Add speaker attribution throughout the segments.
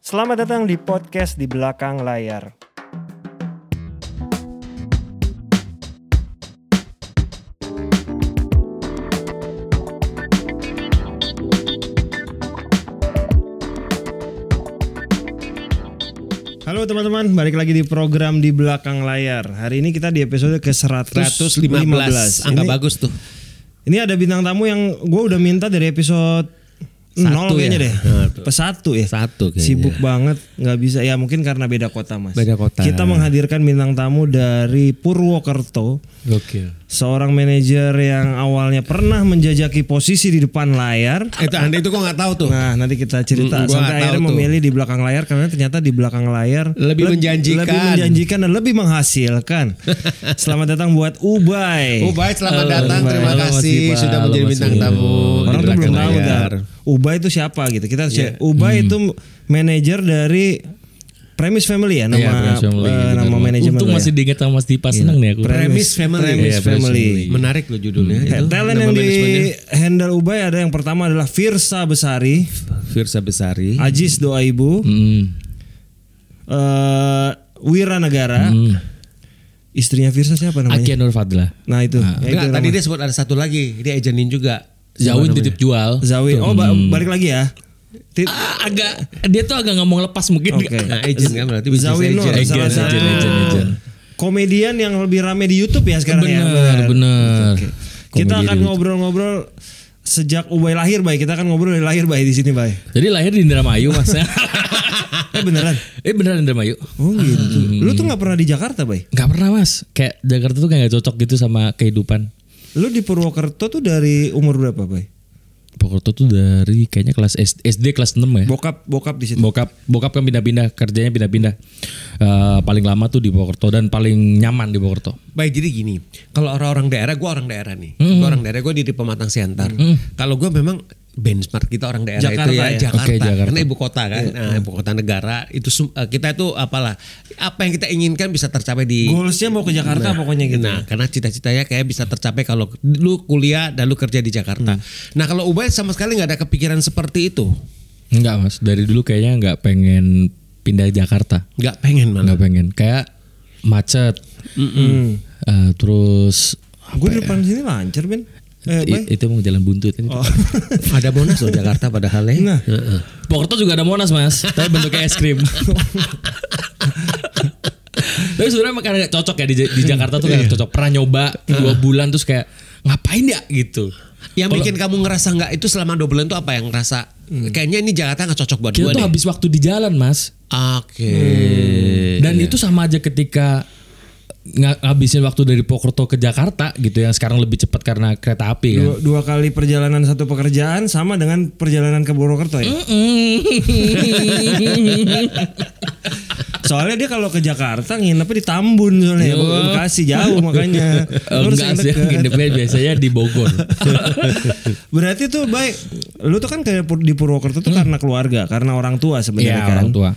Speaker 1: Selamat datang di podcast di belakang layar. Halo teman-teman, balik lagi di program di belakang layar. Hari ini kita di episode ke-115.
Speaker 2: 115 angka
Speaker 1: Ini-
Speaker 2: bagus tuh
Speaker 1: Ini ada bintang tamu yang gue udah minta dari episode nol
Speaker 2: Satu
Speaker 1: kayaknya
Speaker 2: ya?
Speaker 1: deh. Pesatu ya.
Speaker 2: Satu kayaknya.
Speaker 1: Sibuk banget, nggak bisa. Ya mungkin karena beda kota mas.
Speaker 2: iya. Beda kota.
Speaker 1: Kita menghadirkan bintang tamu dari Purwokerto.
Speaker 2: Gokil
Speaker 1: Seorang manajer yang awalnya pernah menjajaki posisi di depan layar.
Speaker 2: Itu anda itu kok gak tahu tuh
Speaker 1: Nah nanti kita cerita
Speaker 2: Mm, gua nggak
Speaker 1: sampai
Speaker 2: tahu
Speaker 1: akhirnya
Speaker 2: tuh.
Speaker 1: memilih di belakang layar karena ternyata di belakang layar
Speaker 2: Lebih
Speaker 1: leb-
Speaker 2: menjanjikan.
Speaker 1: lebih menjanjikan dan lebih menghasilkan. Selamat datang buat Ubay.
Speaker 2: Oh baik selamat datang
Speaker 1: Ubay.
Speaker 2: Terima
Speaker 1: Halo, Mas
Speaker 2: kasih
Speaker 1: Iqbal.
Speaker 2: Sudah
Speaker 1: Halo,
Speaker 2: menjadi
Speaker 1: Mas
Speaker 2: bintang
Speaker 1: Iqbal.
Speaker 2: tamu di
Speaker 1: Orang tuh belum
Speaker 2: belakang
Speaker 1: tahu
Speaker 2: layar.
Speaker 1: Dar. Ubay itu siapa gitu. Kita harus cek. Ubay itu manajer dari Premis Family ya nama
Speaker 3: Premis Family,
Speaker 1: eh,
Speaker 3: benar.
Speaker 1: nama manajemen
Speaker 3: Untung
Speaker 1: lo
Speaker 3: masih
Speaker 1: ya.
Speaker 3: diingat sama Mas Dipa seneng nih aku.
Speaker 2: Premis Family.
Speaker 1: Premis
Speaker 3: Iya, Premis
Speaker 1: Family.
Speaker 3: Family.
Speaker 2: Menarik loh judulnya
Speaker 1: Eh,
Speaker 2: itu
Speaker 1: Talent
Speaker 2: Nama
Speaker 1: yang di
Speaker 2: manajemennya.
Speaker 1: handle Ubay ada yang pertama adalah Firsa Besari,
Speaker 2: Firsa Besari
Speaker 1: Ajis Doa Ibu,
Speaker 3: Hmm.
Speaker 1: eh Wira Negara.
Speaker 3: Hmm.
Speaker 1: Istrinya Firsa siapa namanya?
Speaker 3: Akia Nur Fadla.
Speaker 1: Nah itu. ya, itu
Speaker 2: Enggak tadi
Speaker 1: nama.
Speaker 2: dia sebut ada satu lagi Dia ejenin juga
Speaker 3: Zawin titip jual.
Speaker 1: Zawi. Oh ba- balik lagi ya. Ti-
Speaker 3: Ah, agak dia tuh agak ngomong lepas mungkin.
Speaker 1: Oke.
Speaker 2: Nah agent kan berarti bisnis
Speaker 1: Zawi Nur
Speaker 2: agent.
Speaker 1: salah
Speaker 3: Agent,
Speaker 1: satu
Speaker 3: agent, agent, agent.
Speaker 1: komedian yang lebih rame di YouTube ya sekarang ya.
Speaker 3: Bener, bener.
Speaker 1: Kita
Speaker 3: Komedi
Speaker 1: akan
Speaker 3: di
Speaker 1: ngobrol-ngobrol sejak Ubay lahir, Bay. Kita akan ngobrol dari lahir, Bay, di sini, Bay.
Speaker 3: Jadi lahir di Indramayu Mas.
Speaker 1: Eh beneran.
Speaker 3: eh beneran Indramayu.
Speaker 1: Oh gitu. Lu tuh nggak pernah di Jakarta, Bay?
Speaker 3: Gak pernah Mas. Kayak Jakarta tuh kayak gak cocok gitu sama kehidupan.
Speaker 1: Lu di Purwokerto tuh dari umur berapa, Bay?
Speaker 3: Eh? Pokoknya tuh dari kayaknya kelas SD, SD kelas 6 ya.
Speaker 1: Bokap gitu. bokap di situ.
Speaker 3: Bokap bokap kan pindah-pindah kerjanya pindah-pindah. Eh, paling lama tuh di Purwokerto dan paling nyaman di Purwokerto.
Speaker 2: Baik jadi gini, kalau orang-orang daerah, gue orang daerah nih,
Speaker 1: Mm-hmm.
Speaker 2: gue orang daerah, gue di Pematang Siantar. Kalau gue memang benchmark kita orang daerah
Speaker 1: Jakarta Iya.
Speaker 2: itu ya,
Speaker 1: ya?
Speaker 2: Jakarta.
Speaker 3: Oke, Jakarta.
Speaker 2: karena ibu kota kan, nah, ibu kota negara itu sem- eh, kita itu apalah apa yang kita inginkan bisa tercapai di.
Speaker 1: Goalsnya mau ke Jakarta pokoknya gitu.
Speaker 2: Nah, karena cita-citanya kayak bisa tercapai kalau lu kuliah dan lu kerja di Jakarta.
Speaker 1: Hmm.
Speaker 2: Nah, kalau Ubay sama sekali nggak ada kepikiran seperti itu,
Speaker 3: Enggak mas, dari dulu kayaknya nggak pengen pindah Jakarta,
Speaker 2: nggak pengen malah.
Speaker 3: nggak pengen. Kayak macet, Eh, terus
Speaker 1: Gue di depan sini lancar, Ben. Eh, Bay.
Speaker 3: ya. i- itu mau jalan buntut. Oh.
Speaker 2: ada bonus loh Jakarta padahalnya.
Speaker 1: Nah.
Speaker 2: Heeh.
Speaker 3: Pokoknya juga ada Monas mas, tapi bentuknya es krim. tapi sebenarnya makanya nggak cocok ya di, di Jakarta tuh nggak cocok. Pernah nyoba dua bulan terus kayak ngapain ya gitu.
Speaker 2: Yang bikin kamu ngerasa nggak itu selama dua bulan itu apa yang ngerasa? Kayaknya ini Jakarta nggak cocok buat gue
Speaker 3: Kita tuh
Speaker 2: deh.
Speaker 3: habis waktu di jalan mas.
Speaker 2: Oke.
Speaker 1: Iya,
Speaker 3: Dan itu sama aja ketika nga- ngabisin waktu dari Purwokerto ke Jakarta gitu yang sekarang lebih cepat karena kereta api kan.
Speaker 1: Dua, dua kali perjalanan satu pekerjaan sama dengan perjalanan ke Purwokerto ya. Soalnya dia kalau ke Jakarta nginepnya di Tambun soalnya ya, bukan Bekasi jauh makanya.
Speaker 3: Eh,
Speaker 1: Lu harus
Speaker 3: Enggak
Speaker 1: yang
Speaker 3: sih,
Speaker 1: dekat.
Speaker 3: nginepnya biasanya di Bogor.
Speaker 1: Berarti tuh baik. Lu tuh kan kayak di Purwokerto tuh karena keluarga, karena orang tua sebenarnya
Speaker 3: Hmm. Iya,
Speaker 1: kan.
Speaker 3: orang tua.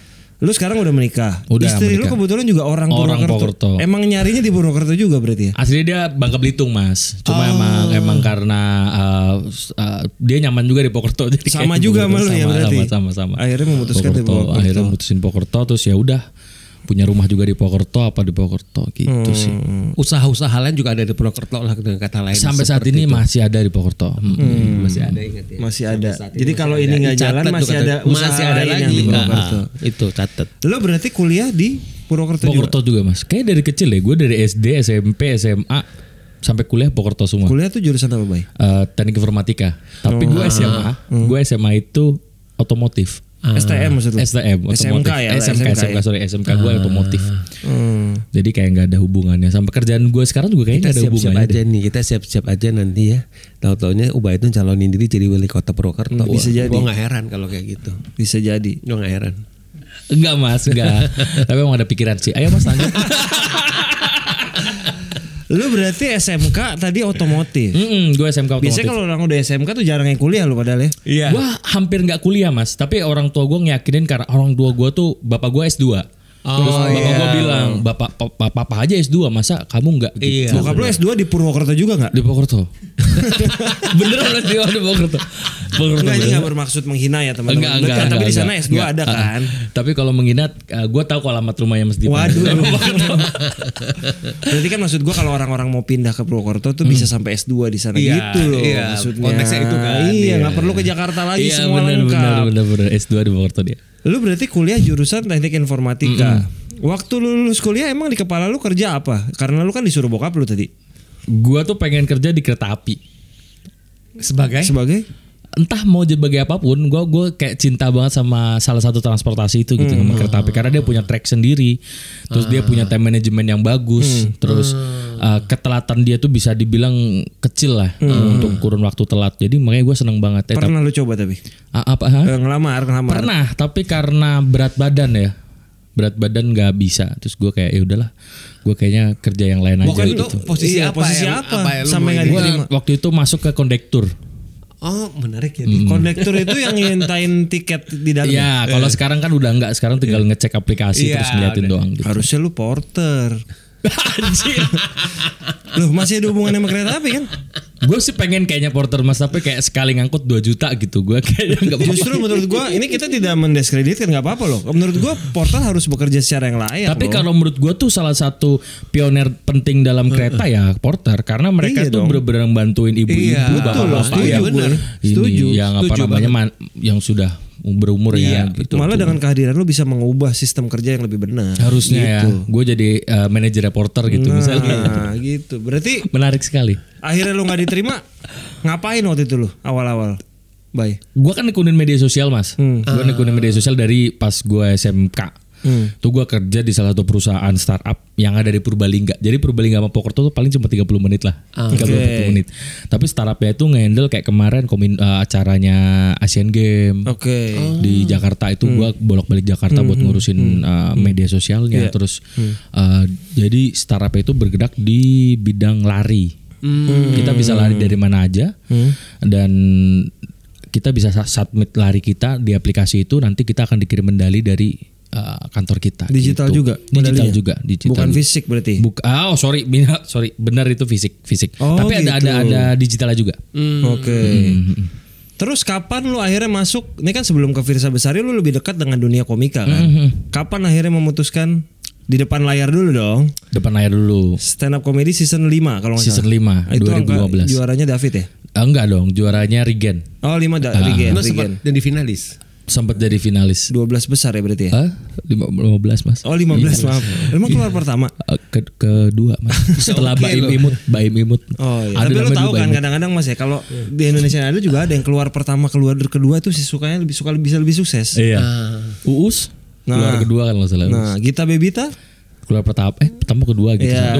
Speaker 1: Lu sekarang udah menikah.
Speaker 3: Udah,
Speaker 1: Istri lu
Speaker 3: menikah.
Speaker 1: kebetulan juga orang,
Speaker 3: Orang
Speaker 1: Purwokerto.
Speaker 3: Purwokerto.
Speaker 1: Emang nyarinya di Purwokerto juga berarti ya?
Speaker 3: Aslinya dia Bangka Belitung mas,
Speaker 1: Oh.
Speaker 3: cuma emang emang karena eh, s- eh, dia nyaman juga di Purwokerto. Jadi
Speaker 1: Sama
Speaker 3: kayak di
Speaker 1: juga sama
Speaker 3: Purwokerto.
Speaker 1: lu ya berarti?
Speaker 3: Sama sama. sama.
Speaker 1: Akhirnya memutuskan di
Speaker 3: Purwokerto.
Speaker 1: Purwokerto.
Speaker 3: Akhirnya mutusin Purwokerto terus ya udah punya rumah juga di Purwokerto apa di Purwokerto gitu
Speaker 1: Hmm,
Speaker 3: sih.
Speaker 2: Hmm. Usaha-usaha lain juga ada di Purwokerto lah dengan kata lain.
Speaker 3: Sampai saat ini masih ada di Purwokerto. Hmm.
Speaker 2: masih ada ingat ya.
Speaker 1: Masih ada.
Speaker 2: Saat
Speaker 1: Jadi
Speaker 2: masih
Speaker 1: kalau
Speaker 2: ada.
Speaker 1: ini nggak jalan
Speaker 2: Dicatat
Speaker 1: masih
Speaker 2: tuh
Speaker 1: ada
Speaker 2: kata-
Speaker 1: usaha
Speaker 2: masih ada
Speaker 1: lain yang
Speaker 2: lagi.
Speaker 3: Nah,
Speaker 1: di Purwokerto.
Speaker 2: Ah, itu catat.
Speaker 1: Lu berarti kuliah di Purwokerto juga?
Speaker 3: Purwokerto juga mas. Kayak dari kecil ya, gue dari SD, SMP, SMA sampai kuliah Purwokerto semua.
Speaker 1: Kuliah tuh jurusan apa, Bay?
Speaker 3: Eh, teknik informatika. Tapi gue SMA, gue SMA itu otomotif.
Speaker 1: STM maksud lu?
Speaker 3: STM, otomotif.
Speaker 1: SMK ya?
Speaker 3: SMK, SMK, sorry, SMK gue otomotif.
Speaker 1: Hmm.
Speaker 3: Jadi kayak nggak ada hubungannya. Sampai kerjaan gue sekarang juga kayaknya
Speaker 2: Kita
Speaker 3: nggak ada
Speaker 2: siap-siap
Speaker 3: hubungannya.
Speaker 2: aja nih, kita siap-siap aja nanti ya. Tahu-taunya Ubay itu calonin diri jadi wali kota Purwokerto.
Speaker 1: bisa jadi.
Speaker 2: Gue Hmm. nggak heran kalau kayak gitu.
Speaker 1: Bisa jadi.
Speaker 2: Gue nggak heran.
Speaker 3: Enggak mas, enggak. Tapi emang ada pikiran sih. Ayo mas lanjut.
Speaker 1: Lu berarti SMK tadi otomotif.
Speaker 3: Mm-mm, gue SMK Hmm, otomotif.
Speaker 1: Biasanya kalau orang udah SMK tuh jarang yang kuliah lu padahal ya.
Speaker 2: Iya.
Speaker 3: Gue hampir nggak kuliah mas, tapi orang tua gue ngeyakinin karena orang tua gue tuh bapak gue S2. Terus
Speaker 2: Oh,
Speaker 3: bapak
Speaker 2: iya.
Speaker 3: gua bilang, "Bapak pa- pa- papa aja S2, masa kamu enggak?"
Speaker 2: Iya.
Speaker 1: Bokap lu S2 di Purwokerto juga nggak?
Speaker 3: Di Purwokerto. Beneran berarti oh, di Purwokerto.
Speaker 1: Enggak, ini
Speaker 3: Purwokerto. beneran.
Speaker 1: nggak bermaksud menghina ya teman-teman.
Speaker 3: Enggak, enggak,
Speaker 1: Tapi
Speaker 3: enggak,
Speaker 1: di sana
Speaker 3: enggak,
Speaker 1: S2
Speaker 3: enggak.
Speaker 1: ada
Speaker 3: Ah, ah.
Speaker 1: kan.
Speaker 3: Tapi kalau mengingat, gue tahu kok alamat rumahnya
Speaker 2: Gitu.
Speaker 3: Mas Dipan.
Speaker 1: Waduh. Berarti kan maksud gua kalau orang-orang mau pindah ke Purwokerto tuh bisa sampai S2 di sana
Speaker 2: Hmm. Iya,
Speaker 1: gitu loh
Speaker 2: iya.
Speaker 1: maksudnya.
Speaker 2: Konteksnya itu kan,
Speaker 1: Iya,
Speaker 2: iya.
Speaker 1: nggak perlu ke Jakarta lagi
Speaker 3: Iya
Speaker 1: semua
Speaker 3: bener,
Speaker 1: lengkap.
Speaker 3: bener, bener, bener. S2 di Purwokerto dia.
Speaker 1: Lu berarti kuliah jurusan Teknik Informatika. Waktu lu lulus kuliah emang di kepala lu kerja apa? Karena lu kan disuruh bokap lu tadi.
Speaker 3: Gue tuh pengen kerja di kereta api.
Speaker 2: Sebagai
Speaker 1: Sebagai
Speaker 3: Entah mau sebagai apapun, gue gue kayak cinta banget sama salah satu transportasi itu gitu
Speaker 2: Hmm.
Speaker 3: sama kereta api karena dia punya track sendiri,
Speaker 2: Ah.
Speaker 3: terus dia punya time management yang bagus,
Speaker 2: Hmm.
Speaker 3: terus eh, ketelatan dia tuh bisa dibilang kecil lah eh,
Speaker 2: Hmm.
Speaker 3: untuk kurun waktu telat. Jadi makanya gue seneng banget. Eh, tapi-
Speaker 1: pernah lu coba tapi
Speaker 3: Ah, apa? ha?
Speaker 1: Eh, ngelamar ngelamar.
Speaker 3: Pernah, tapi karena berat badan ya. Berat badan nggak bisa. Terus gue kayak ya udahlah, gue kayaknya kerja yang lain aja.
Speaker 2: Bukan itu
Speaker 3: gitu.
Speaker 2: posisi
Speaker 1: Iya,
Speaker 2: apa?
Speaker 1: posisi
Speaker 2: yang-
Speaker 1: apa?
Speaker 2: yang lu
Speaker 1: Sampai
Speaker 2: mau
Speaker 1: nggak
Speaker 2: ini?
Speaker 3: Gue
Speaker 1: diterima.
Speaker 3: waktu itu masuk ke kondektur.
Speaker 2: Oh menarik ya.
Speaker 1: Mm. Kondektur itu yang ngintain tiket di dalam.
Speaker 3: Iya,
Speaker 1: eh.
Speaker 3: kalau sekarang kan udah nggak. Sekarang tinggal ngecek aplikasi
Speaker 2: Iya,
Speaker 3: terus ngeliatin
Speaker 2: udah.
Speaker 3: doang. Gitu.
Speaker 1: Harusnya lu porter.
Speaker 3: Anjir.
Speaker 1: Loh masih ada hubungannya sama kereta api kan?
Speaker 3: gue sih pengen kayaknya porter mas tapi kayak sekali ngangkut 2 juta gitu. Gue kayaknya nggak mau.
Speaker 1: Justru menurut gua ini kita tidak mendiskreditkan nggak apa-apa loh. Menurut gua porter harus bekerja secara yang layak.
Speaker 3: Tapi
Speaker 1: loh.
Speaker 3: kalau menurut gue tuh salah satu pioner penting dalam kereta ya porter karena mereka
Speaker 1: Iya dong.
Speaker 3: tuh bener-bener bantuin ibu-ibu
Speaker 2: Iya,
Speaker 1: betul loh,
Speaker 3: bapak-bapak
Speaker 1: setuju
Speaker 3: yang
Speaker 1: bener.
Speaker 3: ini ya
Speaker 1: Setuju,
Speaker 3: yang apa
Speaker 1: setuju Iya,
Speaker 3: namanya man- yang sudah berumur ya gitu.
Speaker 1: malah dengan kehadiran lu bisa mengubah sistem kerja yang lebih benar.
Speaker 3: Harusnya ya gue jadi eh, manajer reporter gitu misalnya.
Speaker 1: Gitu. Nah, gitu. Berarti
Speaker 3: Menarik sekali.
Speaker 1: akhirnya lu nggak diterima, ngapain waktu itu lu awal-awal? Bye.
Speaker 3: Gue kan nekunin media sosial mas. Gue nekunin media sosial dari pas gue SMK. Tuh gue kerja di salah satu perusahaan startup yang ada di Purbalingga. Jadi Purbalingga sama Pokerto tuh paling cuma 30 menit lah. 30 menit. Tapi startupnya itu ngehandle kayak kemarin komin, eh, acaranya
Speaker 1: Ah.
Speaker 3: Asian Game.
Speaker 1: Oke.
Speaker 3: Hmm.
Speaker 1: Hmm.
Speaker 3: Di Jakarta itu gua bolak-balik Jakarta buat ngurusin eh, media
Speaker 1: Iya.
Speaker 3: sosialnya terus
Speaker 1: Hmm.
Speaker 3: eh, jadi startup itu bergerak di bidang lari.
Speaker 1: Hmm.
Speaker 3: Kita bisa lari dari mana aja dan kita bisa sa- submit lari kita di aplikasi itu nanti kita akan dikirim medali dari eh, kantor kita.
Speaker 1: Digital
Speaker 3: gitu.
Speaker 1: juga
Speaker 3: Digital
Speaker 1: medalinya?
Speaker 3: juga, digital.
Speaker 1: Bukan
Speaker 3: juga.
Speaker 1: fisik berarti.
Speaker 3: Buka, oh sorry, bina- sorry, benar itu fisik, fisik.
Speaker 1: Oh,
Speaker 3: Tapi ada ada
Speaker 1: gitu.
Speaker 3: ada digitalnya juga.
Speaker 1: Oke. Terus kapan lu akhirnya masuk? Ini kan sebelum ke Firsa Besari lu lebih dekat dengan dunia komika kan?
Speaker 3: Hmm.
Speaker 1: Kapan akhirnya memutuskan di depan layar dulu dong?
Speaker 3: Depan layar dulu.
Speaker 1: Stand up comedy season 5 kalau nggak
Speaker 3: Season
Speaker 1: salah.
Speaker 3: 5,
Speaker 1: Itu angka
Speaker 3: 2015.
Speaker 1: juaranya David ya?
Speaker 3: Ah, enggak dong, juaranya Regen.
Speaker 1: Oh, 5
Speaker 3: Ah.
Speaker 1: da Regen,
Speaker 2: Lu
Speaker 1: Regen.
Speaker 2: sempat jadi finalis.
Speaker 3: sempat jadi finalis.
Speaker 1: 12 ya. besar ya berarti ya?
Speaker 3: Hah? Iya. Lima- 15 mas?
Speaker 1: Oh, 15 maaf. Emang keluar pertama.
Speaker 3: Eh, Ke, kedua mas. Setelah
Speaker 2: Oke, loh.
Speaker 3: Baim Imut, Baim Imut.
Speaker 1: Oh iya.
Speaker 3: Ada
Speaker 1: Tapi lu
Speaker 3: namanya
Speaker 1: tahu
Speaker 3: juga
Speaker 1: kan
Speaker 3: Imut.
Speaker 1: kadang-kadang Mas ya kalau di Indonesia ada juga ada yang keluar pertama keluar kedua itu sih sukanya lebih suka bisa lebih sukses.
Speaker 3: Iya. Uus?
Speaker 1: kan?
Speaker 3: Keluar
Speaker 1: Nah.
Speaker 3: kedua kan lo salah. Uus.
Speaker 1: Nah, Gita Bebita
Speaker 3: Keluar pertama, eh pertama kedua gitu.
Speaker 1: Iya.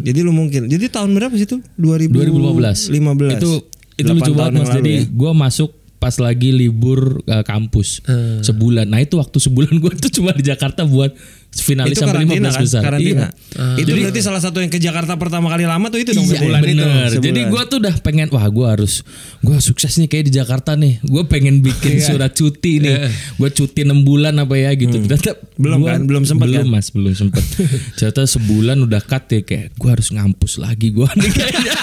Speaker 1: Jadi lu mungkin. Jadi tahun berapa sih itu? 2015.
Speaker 3: 2015.
Speaker 1: 15.
Speaker 3: Itu itu lucu banget mas. Jadi
Speaker 1: Jadi
Speaker 3: gue masuk pas lagi libur eh, kampus
Speaker 1: Hmm.
Speaker 3: sebulan. Nah itu waktu sebulan gue tuh cuma di Jakarta buat finalis
Speaker 1: itu
Speaker 3: sampai
Speaker 1: karantina
Speaker 3: 15
Speaker 1: kan?
Speaker 3: besar.
Speaker 1: Karantina.
Speaker 3: Iya.
Speaker 1: Itu berarti salah satu yang ke Jakarta pertama kali lama tuh itu dong
Speaker 3: Iya,
Speaker 1: sebulan itu.
Speaker 3: bener.
Speaker 1: Sebulan.
Speaker 3: Jadi gue tuh udah pengen wah gue harus gue sukses nih kayak di Jakarta nih. Gue pengen bikin
Speaker 1: Iya.
Speaker 3: surat cuti nih. Gue cuti 6 bulan apa ya gitu. Ternyata
Speaker 1: Eh. Belum
Speaker 3: gua-
Speaker 1: kan? Belum sempet
Speaker 3: Belum
Speaker 1: kan?
Speaker 3: mas, belum sempet. Ternyata sebulan udah cut ya kayak gue harus ngampus lagi gue nih kayaknya.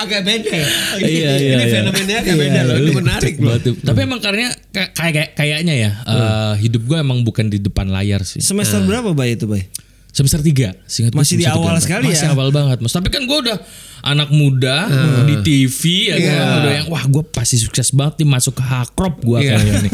Speaker 2: Agak beda. ya?
Speaker 3: Iya, iya,
Speaker 2: Ini
Speaker 3: iya.
Speaker 2: fenomenanya agak
Speaker 3: Iya,
Speaker 2: beda loh.
Speaker 3: iya.
Speaker 2: Ini menarik loh.
Speaker 3: Betul. Tapi emang karena kayak kayak- kayaknya ya
Speaker 1: Hmm.
Speaker 3: eh, hidup gue emang bukan di depan layar sih.
Speaker 2: Nah.
Speaker 1: Semester berapa Bay itu Bay?
Speaker 3: Semester 3 Seingat gua
Speaker 1: Masih di
Speaker 3: semester
Speaker 1: awal
Speaker 3: tiga.
Speaker 1: sekali
Speaker 3: Masih
Speaker 1: ya?
Speaker 3: awal banget mas Tapi kan gue udah Anak muda Di TV ya kan?
Speaker 1: Iya.
Speaker 3: Udah yang Wah gue pasti sukses banget nih Masuk ke hakrop gue
Speaker 1: Iya.
Speaker 3: kayaknya nih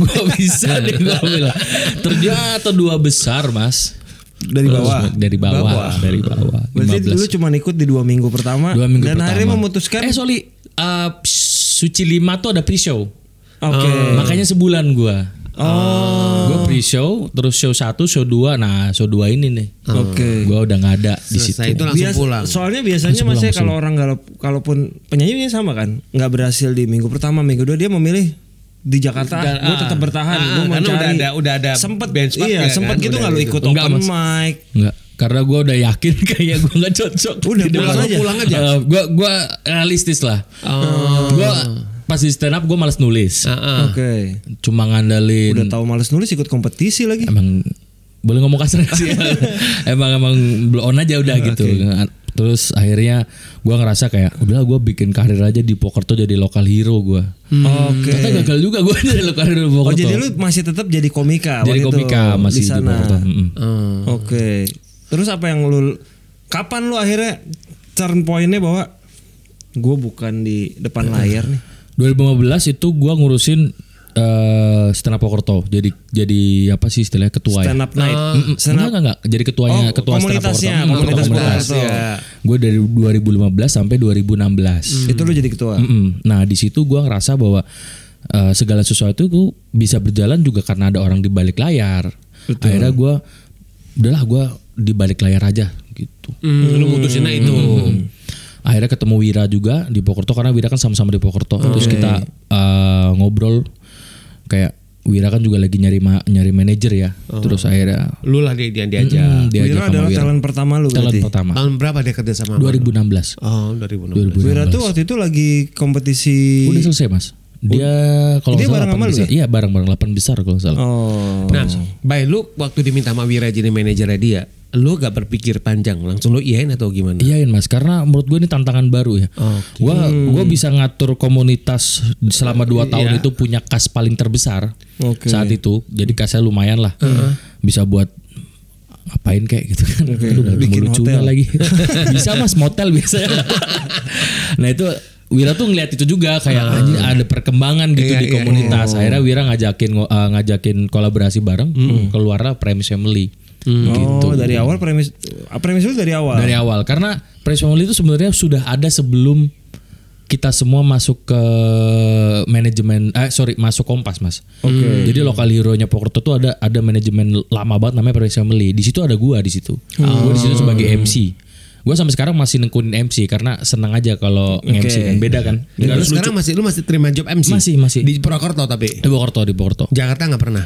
Speaker 3: Gue bisa nih gue bilang Ternyata dua besar mas
Speaker 1: Dari
Speaker 3: Terus,
Speaker 1: bawah.
Speaker 3: Dari bawah,
Speaker 1: Bawah.
Speaker 3: Dari bawah
Speaker 1: Berarti
Speaker 3: 15.
Speaker 1: lu cuma ikut di dua minggu pertama
Speaker 3: Dua minggu
Speaker 1: dan
Speaker 3: pertama
Speaker 1: akhirnya memutuskan
Speaker 3: Eh sorry eh, Suci lima tuh ada pre-show
Speaker 1: Oke.
Speaker 3: Makanya sebulan gue Oh Gue pre-show Terus show satu show dua Nah show dua ini nih
Speaker 1: Oke.
Speaker 3: Gue udah nggak ada di
Speaker 2: Selesai
Speaker 3: situ.
Speaker 2: Nah, itu langsung
Speaker 1: Biasa-
Speaker 2: pulang.
Speaker 1: Soalnya biasanya mas ya kalau orang kalau kalaupun penyanyinya sama kan, nggak berhasil di minggu pertama, minggu dua dia memilih di Jakarta,
Speaker 2: Dan-
Speaker 1: gue
Speaker 2: ah,
Speaker 1: tetap bertahan,
Speaker 2: ah,
Speaker 1: gue mau
Speaker 2: karena
Speaker 1: cari.
Speaker 2: udah ada- udah ada
Speaker 1: sempet
Speaker 2: benchmark
Speaker 1: iya,
Speaker 2: ya kan,
Speaker 1: sempet gitu
Speaker 2: udah
Speaker 1: nggak lu
Speaker 2: gitu.
Speaker 1: ikut
Speaker 3: Enggak,
Speaker 1: open
Speaker 3: Mas.
Speaker 1: mic.
Speaker 3: Enggak, karena gue udah yakin kayak gue nggak cocok.
Speaker 1: Udah,
Speaker 3: Di
Speaker 1: pulang
Speaker 3: dalam-
Speaker 1: aja. Oh.
Speaker 3: Eh, Gue gue realistis lah. Gue pas di stand up gue males nulis
Speaker 2: Heeh.
Speaker 1: Oke.
Speaker 3: cuma
Speaker 1: Ah. Udah
Speaker 3: ngandelin
Speaker 1: tahu males nulis ikut kompetisi lagi.
Speaker 3: emang boleh ngomong kasar nggak sih emang emang blow on aja
Speaker 1: Ah,
Speaker 3: udah gitu terus akhirnya gue ngerasa kayak udah gue bikin karir aja di poker tuh jadi lokal hero gue
Speaker 1: Oke.
Speaker 3: Hmm. ternyata gagal juga gue dari lokal hero di
Speaker 1: Hmm. Oh
Speaker 3: poker
Speaker 1: jadi lu masih tetap jadi komika
Speaker 3: jadi
Speaker 1: waktu itu
Speaker 3: komika masih
Speaker 1: di
Speaker 3: di Hmm,
Speaker 1: sana.
Speaker 3: poker tuh. Mm-mm.
Speaker 1: Oke. Terus apa yang lu kapan lu akhirnya turn point-nya bahwa gue bukan di
Speaker 3: Hmm.
Speaker 1: depan layar
Speaker 3: Oh,
Speaker 1: nih.
Speaker 3: iya. 2015 itu gua ngurusin eh stand up Pokerto. Jadi jadi apa sih istilahnya ketua
Speaker 1: Stand up
Speaker 3: ya?
Speaker 1: night.
Speaker 3: Mm-mm. enggak, enggak, enggak. Jadi ketuanya
Speaker 1: Oh,
Speaker 3: ketua stand up Pokerto.
Speaker 1: komunitasnya,
Speaker 3: Mm, ketua
Speaker 1: komunitas
Speaker 3: komunitas.
Speaker 1: Pokerto. Iya.
Speaker 3: Gue dari 2015 sampai 2016.
Speaker 1: Itu lu jadi ketua.
Speaker 3: Mm-mm. Nah, di situ gua ngerasa bahwa eh, segala sesuatu tuh bisa berjalan juga karena ada orang di balik layar. Akhirnya gua udahlah gua di balik layar aja gitu.
Speaker 2: Hmm, lu mutusinnya itu.
Speaker 3: Akhirnya ketemu Wira juga di Pokerto karena Wira kan sama-sama di Pokerto. Terus kita eh, ngobrol kayak Wira kan juga lagi nyari ma- nyari manajer ya. Terus akhirnya
Speaker 2: Lu lah dia dia diajak.
Speaker 3: hmm, dia
Speaker 1: Oh. Wira
Speaker 3: aja sama
Speaker 1: adalah
Speaker 3: Wira.
Speaker 1: talent pertama lu
Speaker 3: Talent
Speaker 1: berarti.
Speaker 3: pertama
Speaker 2: Tahun berapa dia kerja sama?
Speaker 3: 2016.
Speaker 2: Oh, 2016.
Speaker 3: 2016.
Speaker 1: Wira tuh waktu itu lagi kompetisi
Speaker 3: Iya, Udah selesai, Mas. Dia kalau
Speaker 1: Dia
Speaker 3: nggak salah
Speaker 1: bareng sama
Speaker 3: 8
Speaker 1: lu ya?
Speaker 3: besar. Iya, bareng bareng 8 besar kalau nggak salah.
Speaker 1: Oh.
Speaker 2: Nah, by lu waktu diminta sama Wira jadi manajernya dia, lu gak berpikir panjang, langsung lu iyain atau gimana?
Speaker 3: Iyain Iya, mas, karena menurut gue ini tantangan baru ya. Gue gua bisa ngatur komunitas selama dua
Speaker 1: Iya.
Speaker 3: tahun itu punya kas paling terbesar
Speaker 1: Oke.
Speaker 3: saat itu. Jadi kasnya lumayan lah, bisa buat ngapain kayak gitu kan. Aduh, nggak ketemu
Speaker 1: Bikin
Speaker 3: lucunya
Speaker 1: hotel.
Speaker 3: lagi. bisa mas motel biasanya. nah itu Wira tuh ngeliat itu juga kayak anjing ada perkembangan gitu
Speaker 2: Iya,
Speaker 3: di
Speaker 2: iya,
Speaker 3: komunitas. Akhirnya Wira ngajakin ngo- eh, ngajakin kolaborasi bareng, keluarlah Premis Family.
Speaker 1: Oh, dari awal premis ah, premis lu dari awal.
Speaker 3: dari awal karena Prince Family itu sebenarnya sudah ada sebelum kita semua masuk ke manajemen eh sorry masuk Kompas mas. Hmm. Jadi lokal hero nya Pokerto tuh ada ada manajemen lama banget namanya Prince Family. Di situ ada gua di situ.
Speaker 2: Oh.
Speaker 3: Gua di situ sebagai MC. Gua sampai sekarang masih nekunin MC karena seneng aja kalau MC kan beda kan.
Speaker 2: Enggak, lu sekarang masih lu masih terima job MC?
Speaker 3: Masih, masih.
Speaker 2: Di Purwokerto tapi.
Speaker 3: Di Pokerto di Pokerto.
Speaker 2: Jakarta nggak pernah.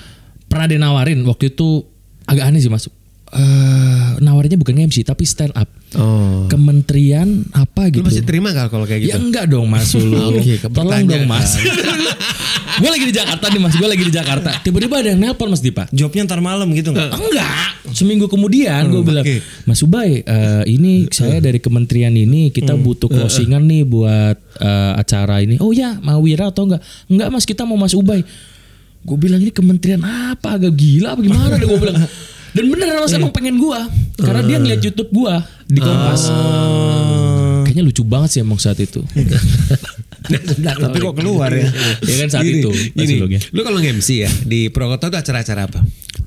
Speaker 3: Pernah ada yang nawarin waktu itu agak aneh sih mas. Eh nawarinnya bukan MC tapi stand up.
Speaker 2: Oh.
Speaker 3: Kementerian apa
Speaker 2: Lu
Speaker 3: gitu.
Speaker 2: masih terima gak kalau kayak
Speaker 3: Ya
Speaker 2: gitu?
Speaker 3: enggak dong mas lu.
Speaker 2: Oke,
Speaker 3: Tolong
Speaker 2: kepertanyaan.
Speaker 3: dong mas. gue lagi di Jakarta nih mas. Gue lagi di Jakarta. Tiba-tiba ada yang nelpon mas Dipa.
Speaker 1: Jobnya ntar malam gitu
Speaker 3: Eh,
Speaker 1: nggak?
Speaker 3: Enggak. Seminggu kemudian
Speaker 1: Hmm,
Speaker 3: gue bilang,
Speaker 2: oke.
Speaker 3: Mas Ubay, eh, ini saya dari kementerian ini kita
Speaker 1: Hmm.
Speaker 3: butuh
Speaker 1: Eh,
Speaker 3: closingan nih buat eh, acara ini. Oh ya, mau Wira atau enggak? Enggak Mas, kita mau Mas Ubay. Gue bilang ini kementerian apa? Agak gila apa gimana? gue bilang. Dan bener Mas
Speaker 1: Eh.
Speaker 3: emang pengen gue, karena dia ngeliat YouTube gue di
Speaker 1: Ah.
Speaker 3: Kompas. Kayaknya lucu banget sih emang saat itu.
Speaker 1: Tapi kok keluar ya?
Speaker 3: ya kan saat itu.
Speaker 2: Iya.
Speaker 3: Mas
Speaker 2: Gini,
Speaker 3: Ulung ya.
Speaker 2: lu kalau nge-MC ya di Purwokerto itu acara-acara apa?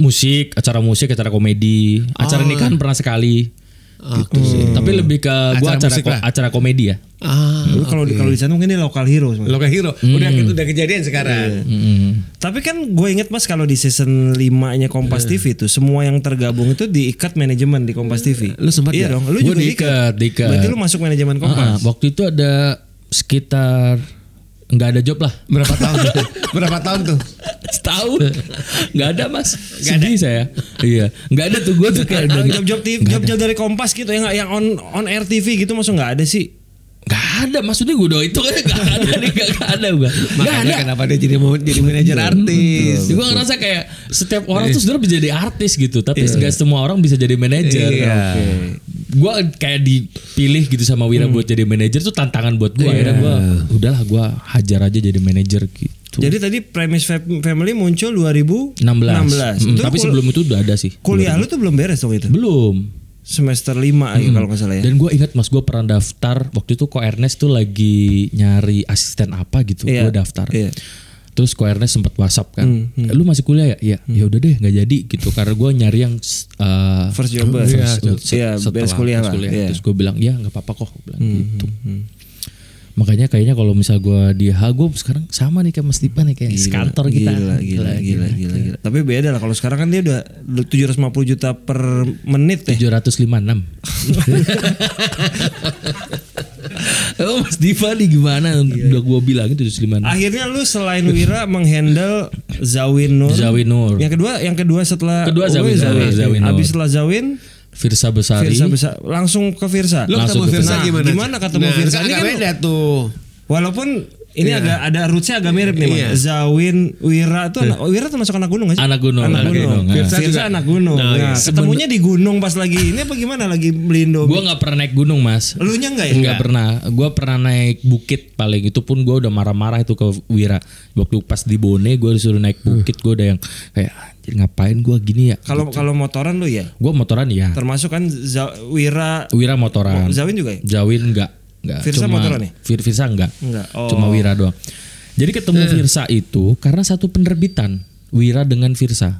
Speaker 3: musik, acara musik, acara komedi, acara
Speaker 2: Oh.
Speaker 3: nikahan pernah sekali. Gitu sih. Tapi lebih ke gua
Speaker 2: Acara
Speaker 3: acara
Speaker 2: musik
Speaker 3: ko-
Speaker 2: lah.
Speaker 3: acara komedi ya.
Speaker 2: Ah,
Speaker 1: Lu kalau di kalau di sana mungkin dia lokal hero. sebenarnya.
Speaker 2: lo kayak hero.
Speaker 3: Hmm.
Speaker 2: Udah gitu udah kejadian sekarang.
Speaker 3: Iya.
Speaker 1: Tapi kan gue inget mas kalau di season 5-nya Kompas
Speaker 3: Iya.
Speaker 1: TV itu semua yang tergabung itu diikat manajemen di Kompas TV.
Speaker 2: Lu sempat
Speaker 1: Iya
Speaker 2: nggak?
Speaker 1: dong. Lu
Speaker 3: Gua
Speaker 1: juga
Speaker 3: diikat,
Speaker 1: diikat.
Speaker 3: diikat.
Speaker 1: Berarti lu masuk manajemen
Speaker 3: Ah,
Speaker 1: Kompas.
Speaker 3: waktu itu ada sekitar nggak ada job lah.
Speaker 2: Berapa tahun? Berapa tahun tuh?
Speaker 3: Setahun nggak ada mas. Sedih saya. iya nggak ada tuh gue tuh kayak
Speaker 2: Oh,
Speaker 3: udah
Speaker 2: iya.
Speaker 3: gitu.
Speaker 1: Job-job TV, job-job dari Kompas gitu ya nggak yang on on air TV gitu masuk nggak ada sih.
Speaker 3: nggak ada maksudnya gue doa itu kan nggak ada nih nggak nggak ada gue. Nggak
Speaker 2: Makanya kan
Speaker 3: ada.
Speaker 2: kenapa dia jadi mau jadi manajer artis?
Speaker 3: Gue ngerasa kayak setiap orang
Speaker 1: Eh.
Speaker 3: tuh sebenarnya bisa jadi artis gitu, tapi
Speaker 1: Iya.
Speaker 3: nggak semua orang bisa jadi manajer.
Speaker 2: Iya.
Speaker 3: Oke. Gue kayak dipilih gitu sama
Speaker 1: Hmm.
Speaker 3: Wira buat jadi manajer tuh tantangan buat
Speaker 1: Iya.
Speaker 3: gue. Akhirnya gue udahlah gue hajar aja jadi manajer gitu.
Speaker 1: Jadi tadi premis Fam- Family muncul 2016.
Speaker 3: 16.
Speaker 1: Itu
Speaker 3: Mm, tapi
Speaker 1: kul-
Speaker 3: sebelum itu udah ada sih.
Speaker 1: kuliah lu tuh belum beres dong itu.
Speaker 3: Belum.
Speaker 1: Semester 5
Speaker 3: Hmm.
Speaker 1: aja kalau nggak salah ya.
Speaker 3: Dan gue ingat mas gue pernah daftar waktu itu kok Ernest tuh lagi nyari asisten apa gitu.
Speaker 1: Iya.
Speaker 3: Gue daftar.
Speaker 1: Iya. Hmm,
Speaker 3: Terus kok Ernest sempat WhatsApp kan. Lu masih kuliah ya? Iya. Ya udah deh nggak jadi gitu karena gue nyari yang eh,
Speaker 1: First jobber. Iya,
Speaker 3: First job.
Speaker 1: iya,
Speaker 3: Set-
Speaker 1: beres
Speaker 3: setelah
Speaker 1: kuliah
Speaker 3: beres
Speaker 1: lah. Iya. Hmm,
Speaker 3: Terus gue bilang ya nggak apa-apa kok. Gua bilang gitu. Makanya kayaknya kalau misal gue di H gue sekarang sama nih kayak Mas Tipa nih kayak sekantor kita.
Speaker 1: Gila, gila, gila, gila, gila. Tapi beda lah kalau sekarang kan dia udah 750 juta per menit
Speaker 3: Eh.
Speaker 1: ya.
Speaker 3: 756 Oh Mas Diva nih gimana Udah gue bilangin 756
Speaker 1: Akhirnya lu selain Wira menghandle Zawin Nur.
Speaker 3: Zawin Nur.
Speaker 1: Yang kedua, yang kedua setelah
Speaker 3: Kedua
Speaker 1: Oh,
Speaker 3: Zawin Nur, Zawin Nur.
Speaker 1: Abis setelah Zawin,
Speaker 3: Firsa iya. Besari
Speaker 1: Firsa besar, langsung ke Firsa.
Speaker 2: Lu ketemu
Speaker 3: Langsung ke
Speaker 2: Firza
Speaker 1: Firza.
Speaker 2: gimana?
Speaker 1: Nah, gimana ketemu
Speaker 2: nah,
Speaker 1: Firza?
Speaker 2: kan
Speaker 1: Ini
Speaker 2: agak
Speaker 1: kan-
Speaker 2: beda tuh.
Speaker 1: Walaupun Ini agak ada rootsnya agak mirip nih, Mas. Zawin Wira tuh anak, Wira termasuk anak gunung nggak sih?
Speaker 3: Anak gunung,
Speaker 1: Anak
Speaker 3: anak
Speaker 1: gunung.
Speaker 3: gunung, ya.
Speaker 1: Firza
Speaker 2: Firza
Speaker 1: juga anak gunung.
Speaker 2: Nah,
Speaker 1: Nah,
Speaker 2: iya.
Speaker 1: ketemunya di gunung pas lagi ini apa gimana lagi beli
Speaker 3: Gue
Speaker 1: Indomie?
Speaker 3: nggak pernah naik gunung mas.
Speaker 1: Elunya enggak ya?
Speaker 3: Enggak pernah. Gue pernah naik bukit paling itu pun gue udah marah-marah itu ke Wira. Waktu pas di Bone gue disuruh naik bukit gue udah yang kayak anjir ngapain gue gini ya.
Speaker 1: Kalau kalau motoran lu ya?
Speaker 3: Gue motoran ya.
Speaker 1: Termasuk kan Za- Wira
Speaker 3: Wira motoran.
Speaker 1: Zawin juga ya?
Speaker 3: Jawin enggak. Enggak.
Speaker 1: Firsa
Speaker 3: Cuma
Speaker 1: motoran ya?
Speaker 3: Fir- Firsa enggak.
Speaker 1: Enggak. Oh.
Speaker 3: Cuma Wira doang. Jadi ketemu Firsa itu karena satu penerbitan Wira dengan Firsa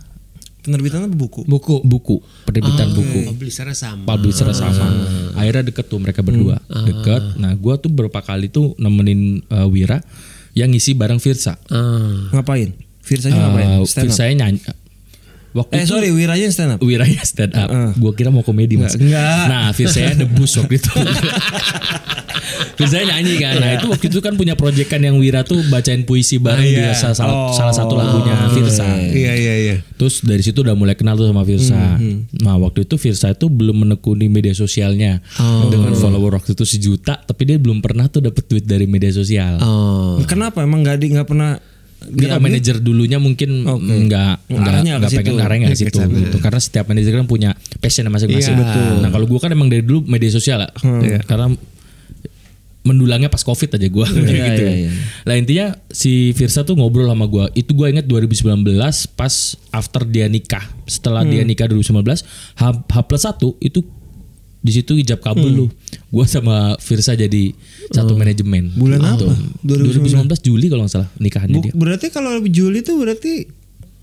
Speaker 1: Penerbitannya buku.
Speaker 3: buku buku penerbitan buku
Speaker 2: Publishernya sama.
Speaker 3: publisher sama akhirnya deket tuh mereka berdua deket nah gua tuh beberapa kali tuh nemenin uh, Wira yang ngisi bareng Firsa
Speaker 2: Ah.
Speaker 1: Ngapain? Firza ngapain? Stand
Speaker 3: uh,
Speaker 1: up.
Speaker 3: Firsa nyanyi waktu
Speaker 1: Eh
Speaker 3: itu
Speaker 1: sorry, Wiranya stand up.
Speaker 3: Wira ya stand up gua kira mau komedi mas
Speaker 1: Enggak.
Speaker 3: nah Firsa debus waktu itu Firsa nyanyi kan
Speaker 2: Iya.
Speaker 3: nah itu waktu itu kan punya proyekan yang Wira tuh bacain puisi bareng
Speaker 2: Ah,
Speaker 3: dia salah, salah- salah satu lagunya Firsa
Speaker 2: Oh. Iya Hmm, iya iya.
Speaker 3: Terus dari situ udah mulai kenal tuh sama Virsa. Nah waktu itu Virsa itu belum menekuni media sosialnya
Speaker 2: Oh.
Speaker 3: dengan follower waktu itu sejuta, tapi dia belum pernah tuh dapet duit dari media sosial.
Speaker 2: Oh.
Speaker 1: Kenapa emang nggak di nggak pernah Iya,
Speaker 3: Dia kan manajer dulunya mungkin nggak nggak
Speaker 1: Arahnya ke
Speaker 3: nggak pengen
Speaker 1: situ. Iya,
Speaker 3: arahnya ke situ gitu. karena setiap manajer kan punya passion masing-masing. Nah kalau gue kan emang dari dulu media sosial lah,
Speaker 1: Hmm.
Speaker 3: karena mendulangnya pas covid aja gue gitu.
Speaker 1: iya,
Speaker 3: kan. Lah intinya si Virsa tuh ngobrol sama gue. Itu gue ingat 2019 pas after dia nikah. Setelah dia
Speaker 1: Hmm.
Speaker 3: nikah 2019, H, H plus satu itu di situ ijab kabul
Speaker 1: Hmm.
Speaker 3: lu. Gue sama Virsa jadi satu manajemen.
Speaker 1: Bulan
Speaker 3: Gitu.
Speaker 1: apa?
Speaker 3: 2019, Juli kalau nggak salah nikahannya
Speaker 1: Buk-
Speaker 3: dia.
Speaker 1: berarti kalau Juli itu berarti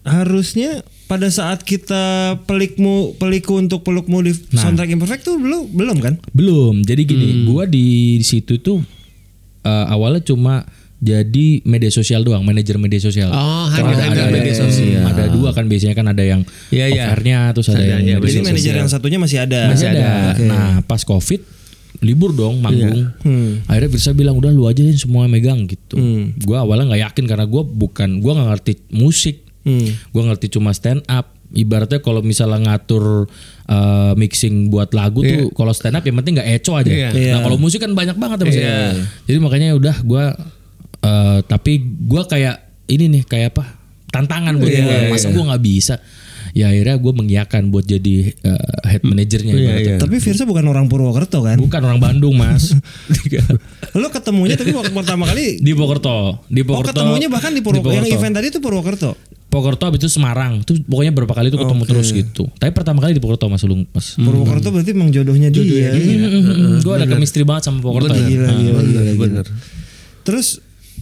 Speaker 1: harusnya pada saat kita pelikmu peliku untuk pelukmu di soundtrack imperfect tuh belum belum kan?
Speaker 3: Nah. Belum. Jadi gini,
Speaker 2: Hmm.
Speaker 3: gua di situ tuh eh, awalnya cuma jadi media sosial doang, manajer media sosial.
Speaker 2: Oh,
Speaker 3: Kan
Speaker 2: hanya- hanya media sosial.
Speaker 3: Ada dua kan biasanya kan ada yang
Speaker 2: Iya, iya.
Speaker 3: offernya, terus ada
Speaker 2: Adanya,
Speaker 3: yang media
Speaker 1: Jadi
Speaker 3: sosial.
Speaker 1: manajer yang satunya masih ada.
Speaker 3: Masih ada. Nah, pas Covid libur dong manggung. Akhirnya Virsa bilang udah lu aja yang semua yang megang gitu. Gua awalnya nggak yakin karena gua bukan gua nggak ngerti musik. Gua ngerti cuma stand up. Ibaratnya kalau misalnya ngatur uh, mixing buat lagu tuh kalau stand up yang penting nggak eco aja.
Speaker 2: Iya.
Speaker 1: Iya.
Speaker 3: Nah, kalau musik kan banyak banget ya Mas.
Speaker 2: Iya.
Speaker 3: Jadi makanya udah gua uh, tapi gua kayak ini nih kayak apa? tantangan buat
Speaker 1: Iya,
Speaker 3: gua. Masa gua nggak bisa? Ya akhirnya gua mengiakan buat jadi uh, head
Speaker 1: Hmm.
Speaker 3: manajernya
Speaker 1: Iya,
Speaker 3: ibaratnya.
Speaker 1: Tapi Virsa bukan orang Purwokerto kan?
Speaker 3: Bukan orang Bandung, Mas.
Speaker 1: Lo ketemunya tapi waktu pertama kali
Speaker 3: di Pokerto, di
Speaker 1: Oh
Speaker 3: Pokerto.
Speaker 1: ketemunya bahkan di Purwokerto. Yang
Speaker 3: Purwokerto.
Speaker 1: event tadi itu Purwokerto.
Speaker 3: Pokerto habis itu Semarang. Tuh pokoknya berapa kali itu ketemu terus gitu. Tapi pertama kali di Pokerto Mas Ulung, Mas.
Speaker 1: Purwokerto berarti emang jodohnya dia. Hmm. iya.
Speaker 3: Gue ada chemistry banget sama ya. Pokerto.
Speaker 1: Gila,
Speaker 2: Ah,
Speaker 1: gila, gila, gila.
Speaker 2: Bener.
Speaker 1: Terus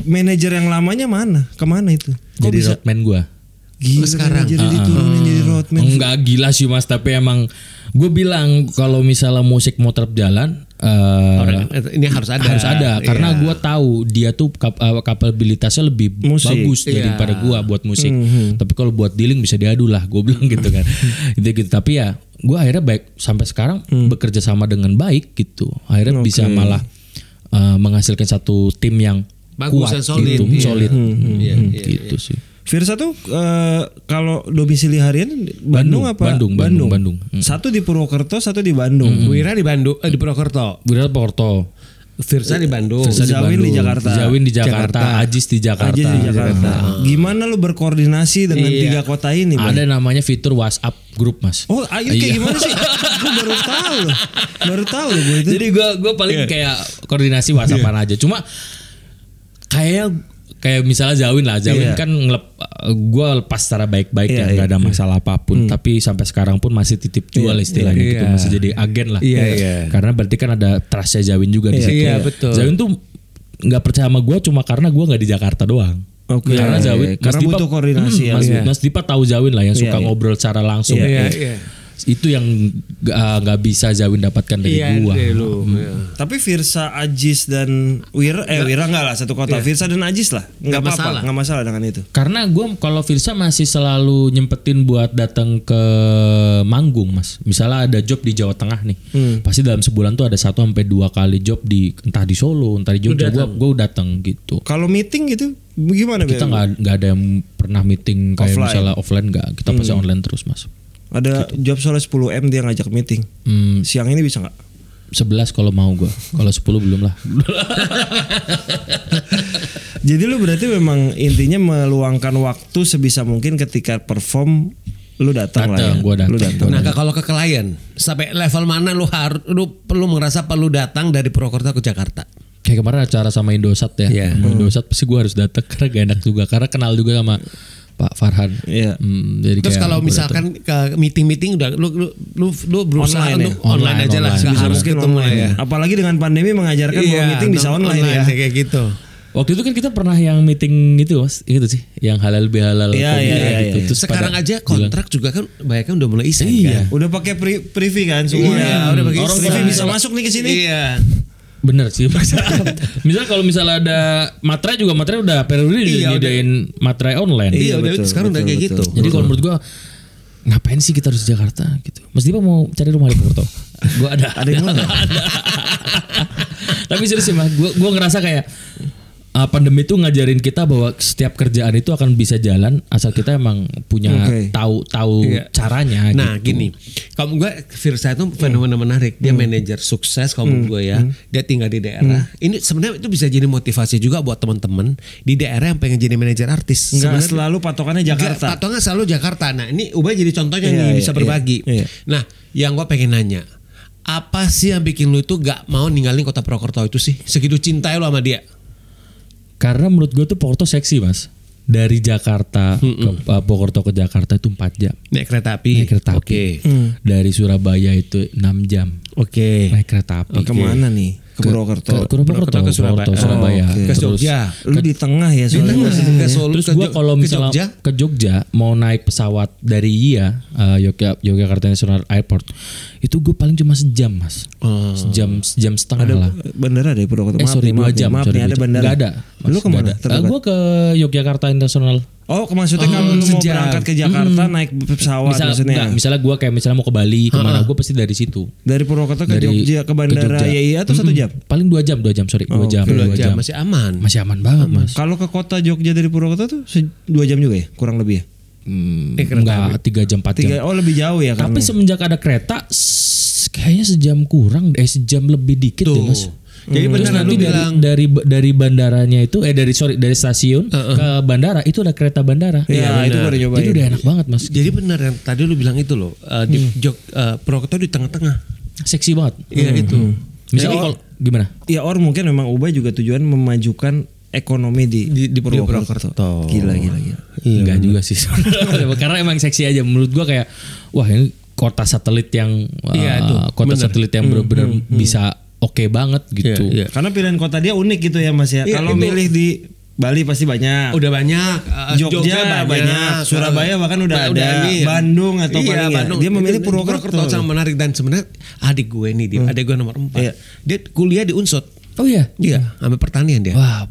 Speaker 1: manajer yang lamanya mana? Kemana itu? Kok
Speaker 3: Jadi
Speaker 1: bisa?
Speaker 3: roadman gue.
Speaker 1: Gila
Speaker 2: sekarang?
Speaker 1: manajer diturunin jadi roadman.
Speaker 3: Ah. Enggak gila sih Mas, tapi emang gue bilang kalau misalnya musik mau tetap jalan eh,
Speaker 2: Orang ini harus ada. Iya.
Speaker 3: harus ada karena gue tahu dia tuh kap- eh, kapabilitasnya lebih
Speaker 1: Musik.
Speaker 3: bagus daripada gue buat musik tapi kalau buat dealing bisa diadu lah gue bilang gitu kan gitu gitu tapi ya gue akhirnya baik sampai sekarang bekerja sama dengan baik gitu akhirnya bisa malah eh, menghasilkan satu tim yang
Speaker 2: Bagus
Speaker 3: kuat
Speaker 2: dan solid,
Speaker 3: gitu
Speaker 2: iya.
Speaker 3: solid
Speaker 2: Iya,
Speaker 3: Hmm,
Speaker 2: iya,
Speaker 3: gitu sih
Speaker 1: Firsa tuh eh, kalau domisili harian Bandung,
Speaker 3: Bandung,
Speaker 1: apa?
Speaker 3: Bandung, Bandung, Bandung. Hmm.
Speaker 1: Satu di Purwokerto, satu di Bandung.
Speaker 2: Wira di Bandung, eh, di Purwokerto.
Speaker 3: Wirat Porto
Speaker 2: Firsa Oh, di Bandung.
Speaker 1: Firza di Zawin di
Speaker 3: Bandung,
Speaker 1: Jakarta.
Speaker 3: Zawin di Jakarta, Ajis di Jakarta, Iya.
Speaker 1: Aja di Jakarta. Gimana lu berkoordinasi dengan tiga kota ini? Bang?
Speaker 3: ada Iya. namanya fitur WhatsApp grup mas
Speaker 1: Oh, ah, itu kayak gimana sih? gue baru tahu loh. Baru tahu loh gue itu.
Speaker 3: Jadi gua gua paling kayak koordinasi WhatsAppan aja. Cuma kayak kayak misalnya Zawin lah, Zawin
Speaker 1: Iya.
Speaker 3: kan ngelep gua lepas secara baik-baik
Speaker 1: Iya,
Speaker 3: ya, nggak ada masalah apapun. Tapi sampai sekarang pun masih titip jual istilahnya gitu, masih jadi agen lah.
Speaker 2: Iya, iya.
Speaker 3: Karena berarti kan ada trustnya Zawin juga di situ.
Speaker 2: Iya, betul.
Speaker 3: Zawin tuh nggak percaya sama gua cuma karena gua nggak di Jakarta doang.
Speaker 1: Oke.
Speaker 3: Karena Zawin,
Speaker 1: Iya, Karena
Speaker 3: Dipa-
Speaker 1: butuh koordinasi
Speaker 3: Hmm,
Speaker 1: ya.
Speaker 3: Mas,
Speaker 1: Iya.
Speaker 3: Mas Dipa tahu Zawin lah yang suka
Speaker 1: iya.
Speaker 3: ngobrol secara langsung.
Speaker 2: Iya, iya.
Speaker 3: Itu yang nggak nggak bisa Zawin dapatkan dari
Speaker 2: Iya,
Speaker 3: gua.
Speaker 2: dari lu. Iya.
Speaker 1: Tapi Firsa, Ajis dan Wira eh Wira enggak lah satu kota. Firsa dan Ajis lah. Enggak
Speaker 2: masalah.
Speaker 1: apa-apa, enggak masalah dengan itu.
Speaker 3: Karena gue kalau Firsa masih selalu nyempetin buat datang ke manggung mas. Misalnya ada job di Jawa Tengah nih,
Speaker 1: Hmm.
Speaker 3: pasti dalam sebulan tuh ada satu sampai dua kali job di entah di Solo, entah di Jogja. Gue gue datang gitu.
Speaker 1: Kalau meeting gitu gimana? Beb?
Speaker 3: Kita nggak nggak ada yang pernah meeting kayak
Speaker 1: Offline. Hmm.
Speaker 3: misalnya offline nggak. Kita pasti online terus mas.
Speaker 1: Ada job soalnya 10 m dia ngajak meeting.
Speaker 3: Hmm,
Speaker 1: Siang ini bisa nggak?
Speaker 3: 11 kalau mau gue, kalau 10 belum lah.
Speaker 1: Jadi lu berarti memang intinya meluangkan waktu sebisa mungkin ketika perform lu datang lah ya.
Speaker 3: Datang, gua datang.
Speaker 1: Lu datang.
Speaker 2: Nah kalau ke klien sampai level mana lu harus lu perlu merasa perlu datang dari Purwokerto ke Jakarta?
Speaker 3: Kayak kemarin acara sama Indosat ya.
Speaker 2: Iya.
Speaker 3: Sama Indosat pasti gue harus datang karena gak enak juga karena kenal juga sama Pak Farhan.
Speaker 1: Iya.
Speaker 3: Hmm, jadi
Speaker 2: Terus
Speaker 3: kayak
Speaker 2: kalau
Speaker 3: gua
Speaker 2: misalkan ke meeting meeting udah lu lu lu, lu berusaha
Speaker 1: Online ya?
Speaker 2: untuk online,
Speaker 3: Online,
Speaker 2: aja lah
Speaker 3: online.
Speaker 2: nggak
Speaker 1: Bisa
Speaker 2: harus
Speaker 1: mungkin
Speaker 2: ketemu lah
Speaker 1: online.
Speaker 2: ya. Iya,
Speaker 1: Apalagi dengan pandemi mengajarkan bahwa meeting bisa online, ya.
Speaker 2: kayak gitu.
Speaker 3: datang. Waktu itu kan kita pernah yang meeting itu mas, gitu sih, yang halal bihalal
Speaker 1: Iya,
Speaker 3: kopi
Speaker 1: iya, iya,
Speaker 3: gitu.
Speaker 1: iya.
Speaker 3: Terus
Speaker 2: Sekarang
Speaker 3: pada
Speaker 2: aja kontrak juga kan bayangkan udah mulai iseng
Speaker 3: Iya.
Speaker 1: Udah pakai pri- privy kan
Speaker 2: kan.
Speaker 1: semua.
Speaker 2: Iya, udah pakai
Speaker 1: Orang
Speaker 2: iseng.
Speaker 1: privy bisa masuk nih ke sini.
Speaker 2: Iya.
Speaker 3: bener sih. misal kalau misalnya ada materai juga materai udah
Speaker 2: Iya,
Speaker 3: periode iya,
Speaker 2: udah.
Speaker 3: nyediain materai online.
Speaker 2: Iya, udah
Speaker 1: betul,
Speaker 2: sekarang udah
Speaker 1: betul,
Speaker 2: kayak
Speaker 1: betul.
Speaker 2: gitu.
Speaker 3: Jadi kalau menurut gua ngapain sih kita harus di Jakarta gitu. Mas Dipa mau cari rumah di Purwokerto. gua ada.
Speaker 1: Ada yang mau nggak?
Speaker 3: Tapi serius sih Mas, gua gua ngerasa kayak uh, pandemi itu ngajarin kita bahwa setiap kerjaan itu akan bisa jalan asal kita emang punya
Speaker 1: Oke.
Speaker 3: tahu tahu
Speaker 2: Iya.
Speaker 3: caranya
Speaker 2: Nah
Speaker 3: gitu. Hmm.
Speaker 2: gini, kamu gue Firsa itu fenomena menarik. Dia manajer sukses kalau menurut gue ya. Dia tinggal di daerah.
Speaker 3: Hmm.
Speaker 2: Ini sebenarnya itu bisa jadi motivasi juga buat teman-teman di daerah yang pengen jadi manajer artis.
Speaker 1: Enggak
Speaker 2: Sebenarnya-
Speaker 1: selalu patokannya Jakarta.
Speaker 2: Enggak, Atau nggak selalu Jakarta. Nah ini Ubay jadi contohnya
Speaker 1: Iya,
Speaker 2: nih
Speaker 1: iya,
Speaker 2: bisa
Speaker 1: iya,
Speaker 2: berbagi.
Speaker 1: iya.
Speaker 2: Nah yang gue pengen nanya. Apa sih yang bikin lu itu gak mau ninggalin kota Purwokerto itu sih? Segitu cintai lu sama dia.
Speaker 3: Karena menurut gua tuh Purwokerto seksi, Mas. Dari Jakarta ke uh, Purwokerto ke Jakarta itu 4 jam.
Speaker 2: Naik kereta api.
Speaker 3: Naik kereta api.
Speaker 2: Oke.
Speaker 3: Dari Surabaya itu 6 jam.
Speaker 2: Hmm. Oke.
Speaker 3: Naik kereta api.
Speaker 1: Ke Nah, Kemana nih? Ke Purwokerto.
Speaker 3: Ke
Speaker 2: Purwokerto
Speaker 3: Purwokerto,
Speaker 2: ke Surabaya.
Speaker 3: Purwokerto, Surabaya.
Speaker 1: Oh, oke.
Speaker 2: Ke
Speaker 3: Terus-
Speaker 2: Jogja.
Speaker 1: Lu di tengah ya
Speaker 2: Di
Speaker 1: soalnya.
Speaker 2: tengah, ke Solo,
Speaker 3: Terus
Speaker 2: ke
Speaker 3: gue
Speaker 2: Jo-
Speaker 3: kalau
Speaker 2: ke
Speaker 3: misalnya
Speaker 2: Jogja.
Speaker 3: ke Jogja mau naik pesawat dari Iya eh, Yogya- Yogyakarta International Airport itu gue paling cuma sejam mas,
Speaker 2: Eh,
Speaker 3: sejam sejam setengah
Speaker 1: Oh. Ada
Speaker 3: lah.
Speaker 1: bandara deh Purwokerto.
Speaker 3: Eh sorry dua
Speaker 1: nih,
Speaker 3: jam.
Speaker 1: Maaf
Speaker 3: sorry,
Speaker 1: nih
Speaker 3: dua
Speaker 1: ada
Speaker 3: jam.
Speaker 1: bandara.
Speaker 3: Nggak ada.
Speaker 1: Lu kemana? Terdekat?
Speaker 3: gue ke Yogyakarta International.
Speaker 1: Oh, maksudnya kalau lu mau
Speaker 2: sejam.
Speaker 1: berangkat ke Jakarta naik pesawat
Speaker 3: Hmm. Misal,
Speaker 1: Oh, maksudnya.
Speaker 3: nggak, misalnya gue kayak misalnya mau ke Bali kemana gue pasti dari situ.
Speaker 1: Dari Purwokerto ke
Speaker 3: Dari-
Speaker 1: Jogja ke
Speaker 3: ke
Speaker 1: bandara
Speaker 3: Jogja. Hmm.
Speaker 1: YIA tuh satu jam. Oh,
Speaker 3: Paling dua jam dua jam sorry dua jam
Speaker 2: Dua
Speaker 3: dua
Speaker 2: jam. iya,
Speaker 3: jam
Speaker 2: Masih aman.
Speaker 3: masih aman banget mas.
Speaker 1: Kalau ke kota Jogja dari Purwokerto tuh se- dua jam juga ya, kurang lebih ya.
Speaker 3: Hmm, enggak tiga jam empat jam.
Speaker 1: Tiga, oh lebih jauh ya karena.
Speaker 3: Tapi semenjak ada kereta s- kayaknya sejam kurang eh sejam lebih dikit deh mas.
Speaker 2: Gitu. Jadi
Speaker 3: Terus
Speaker 2: beneran lu
Speaker 3: Hmm. nanti dari,
Speaker 2: bilang
Speaker 3: dari dari bandaranya itu eh dari sorry dari stasiun ke bandara itu ada kereta bandara.
Speaker 1: Iya, itu baru nyobain.
Speaker 3: Jadi udah enak banget mas.
Speaker 2: Jadi benar yang tadi lu bilang itu loh eh, di Jog, eh, Purwokerto di tengah-tengah.
Speaker 3: Seksi banget.
Speaker 2: Iya itu.
Speaker 3: Misalnya kalau gimana?
Speaker 1: Ya or mungkin memang Ubay juga tujuan memajukan ekonomi di
Speaker 2: Di- di Purwokerto.
Speaker 1: Gila gila gila.
Speaker 2: Iya,
Speaker 3: Enggak juga sih. Karena emang seksi aja menurut gua kayak wah ini kota satelit yang
Speaker 2: Iya,
Speaker 3: uh,
Speaker 2: itu. Hmm,
Speaker 3: kota satelit yang benar-benar bisa oke banget gitu.
Speaker 2: Iya,
Speaker 1: Karena pilihan kota dia unik gitu ya Mas ya. Kalau milih di Bali pasti banyak.
Speaker 2: Udah banyak eh,
Speaker 1: Jogja, banyak, Surabaya bahkan udah
Speaker 2: Ba-
Speaker 1: ada,
Speaker 2: nih.
Speaker 1: Bandung atau paling ya. Dia memilih
Speaker 2: Itu-
Speaker 1: Purwokerto.
Speaker 2: Iya, Purwokerto sangat menarik dan sebenarnya adik gue nih dia, adik gue nomor 4.
Speaker 1: Iya.
Speaker 2: Dia kuliah di Unsut.
Speaker 3: Oh iya.
Speaker 2: Iya, ambil pertanian dia.
Speaker 3: Wah,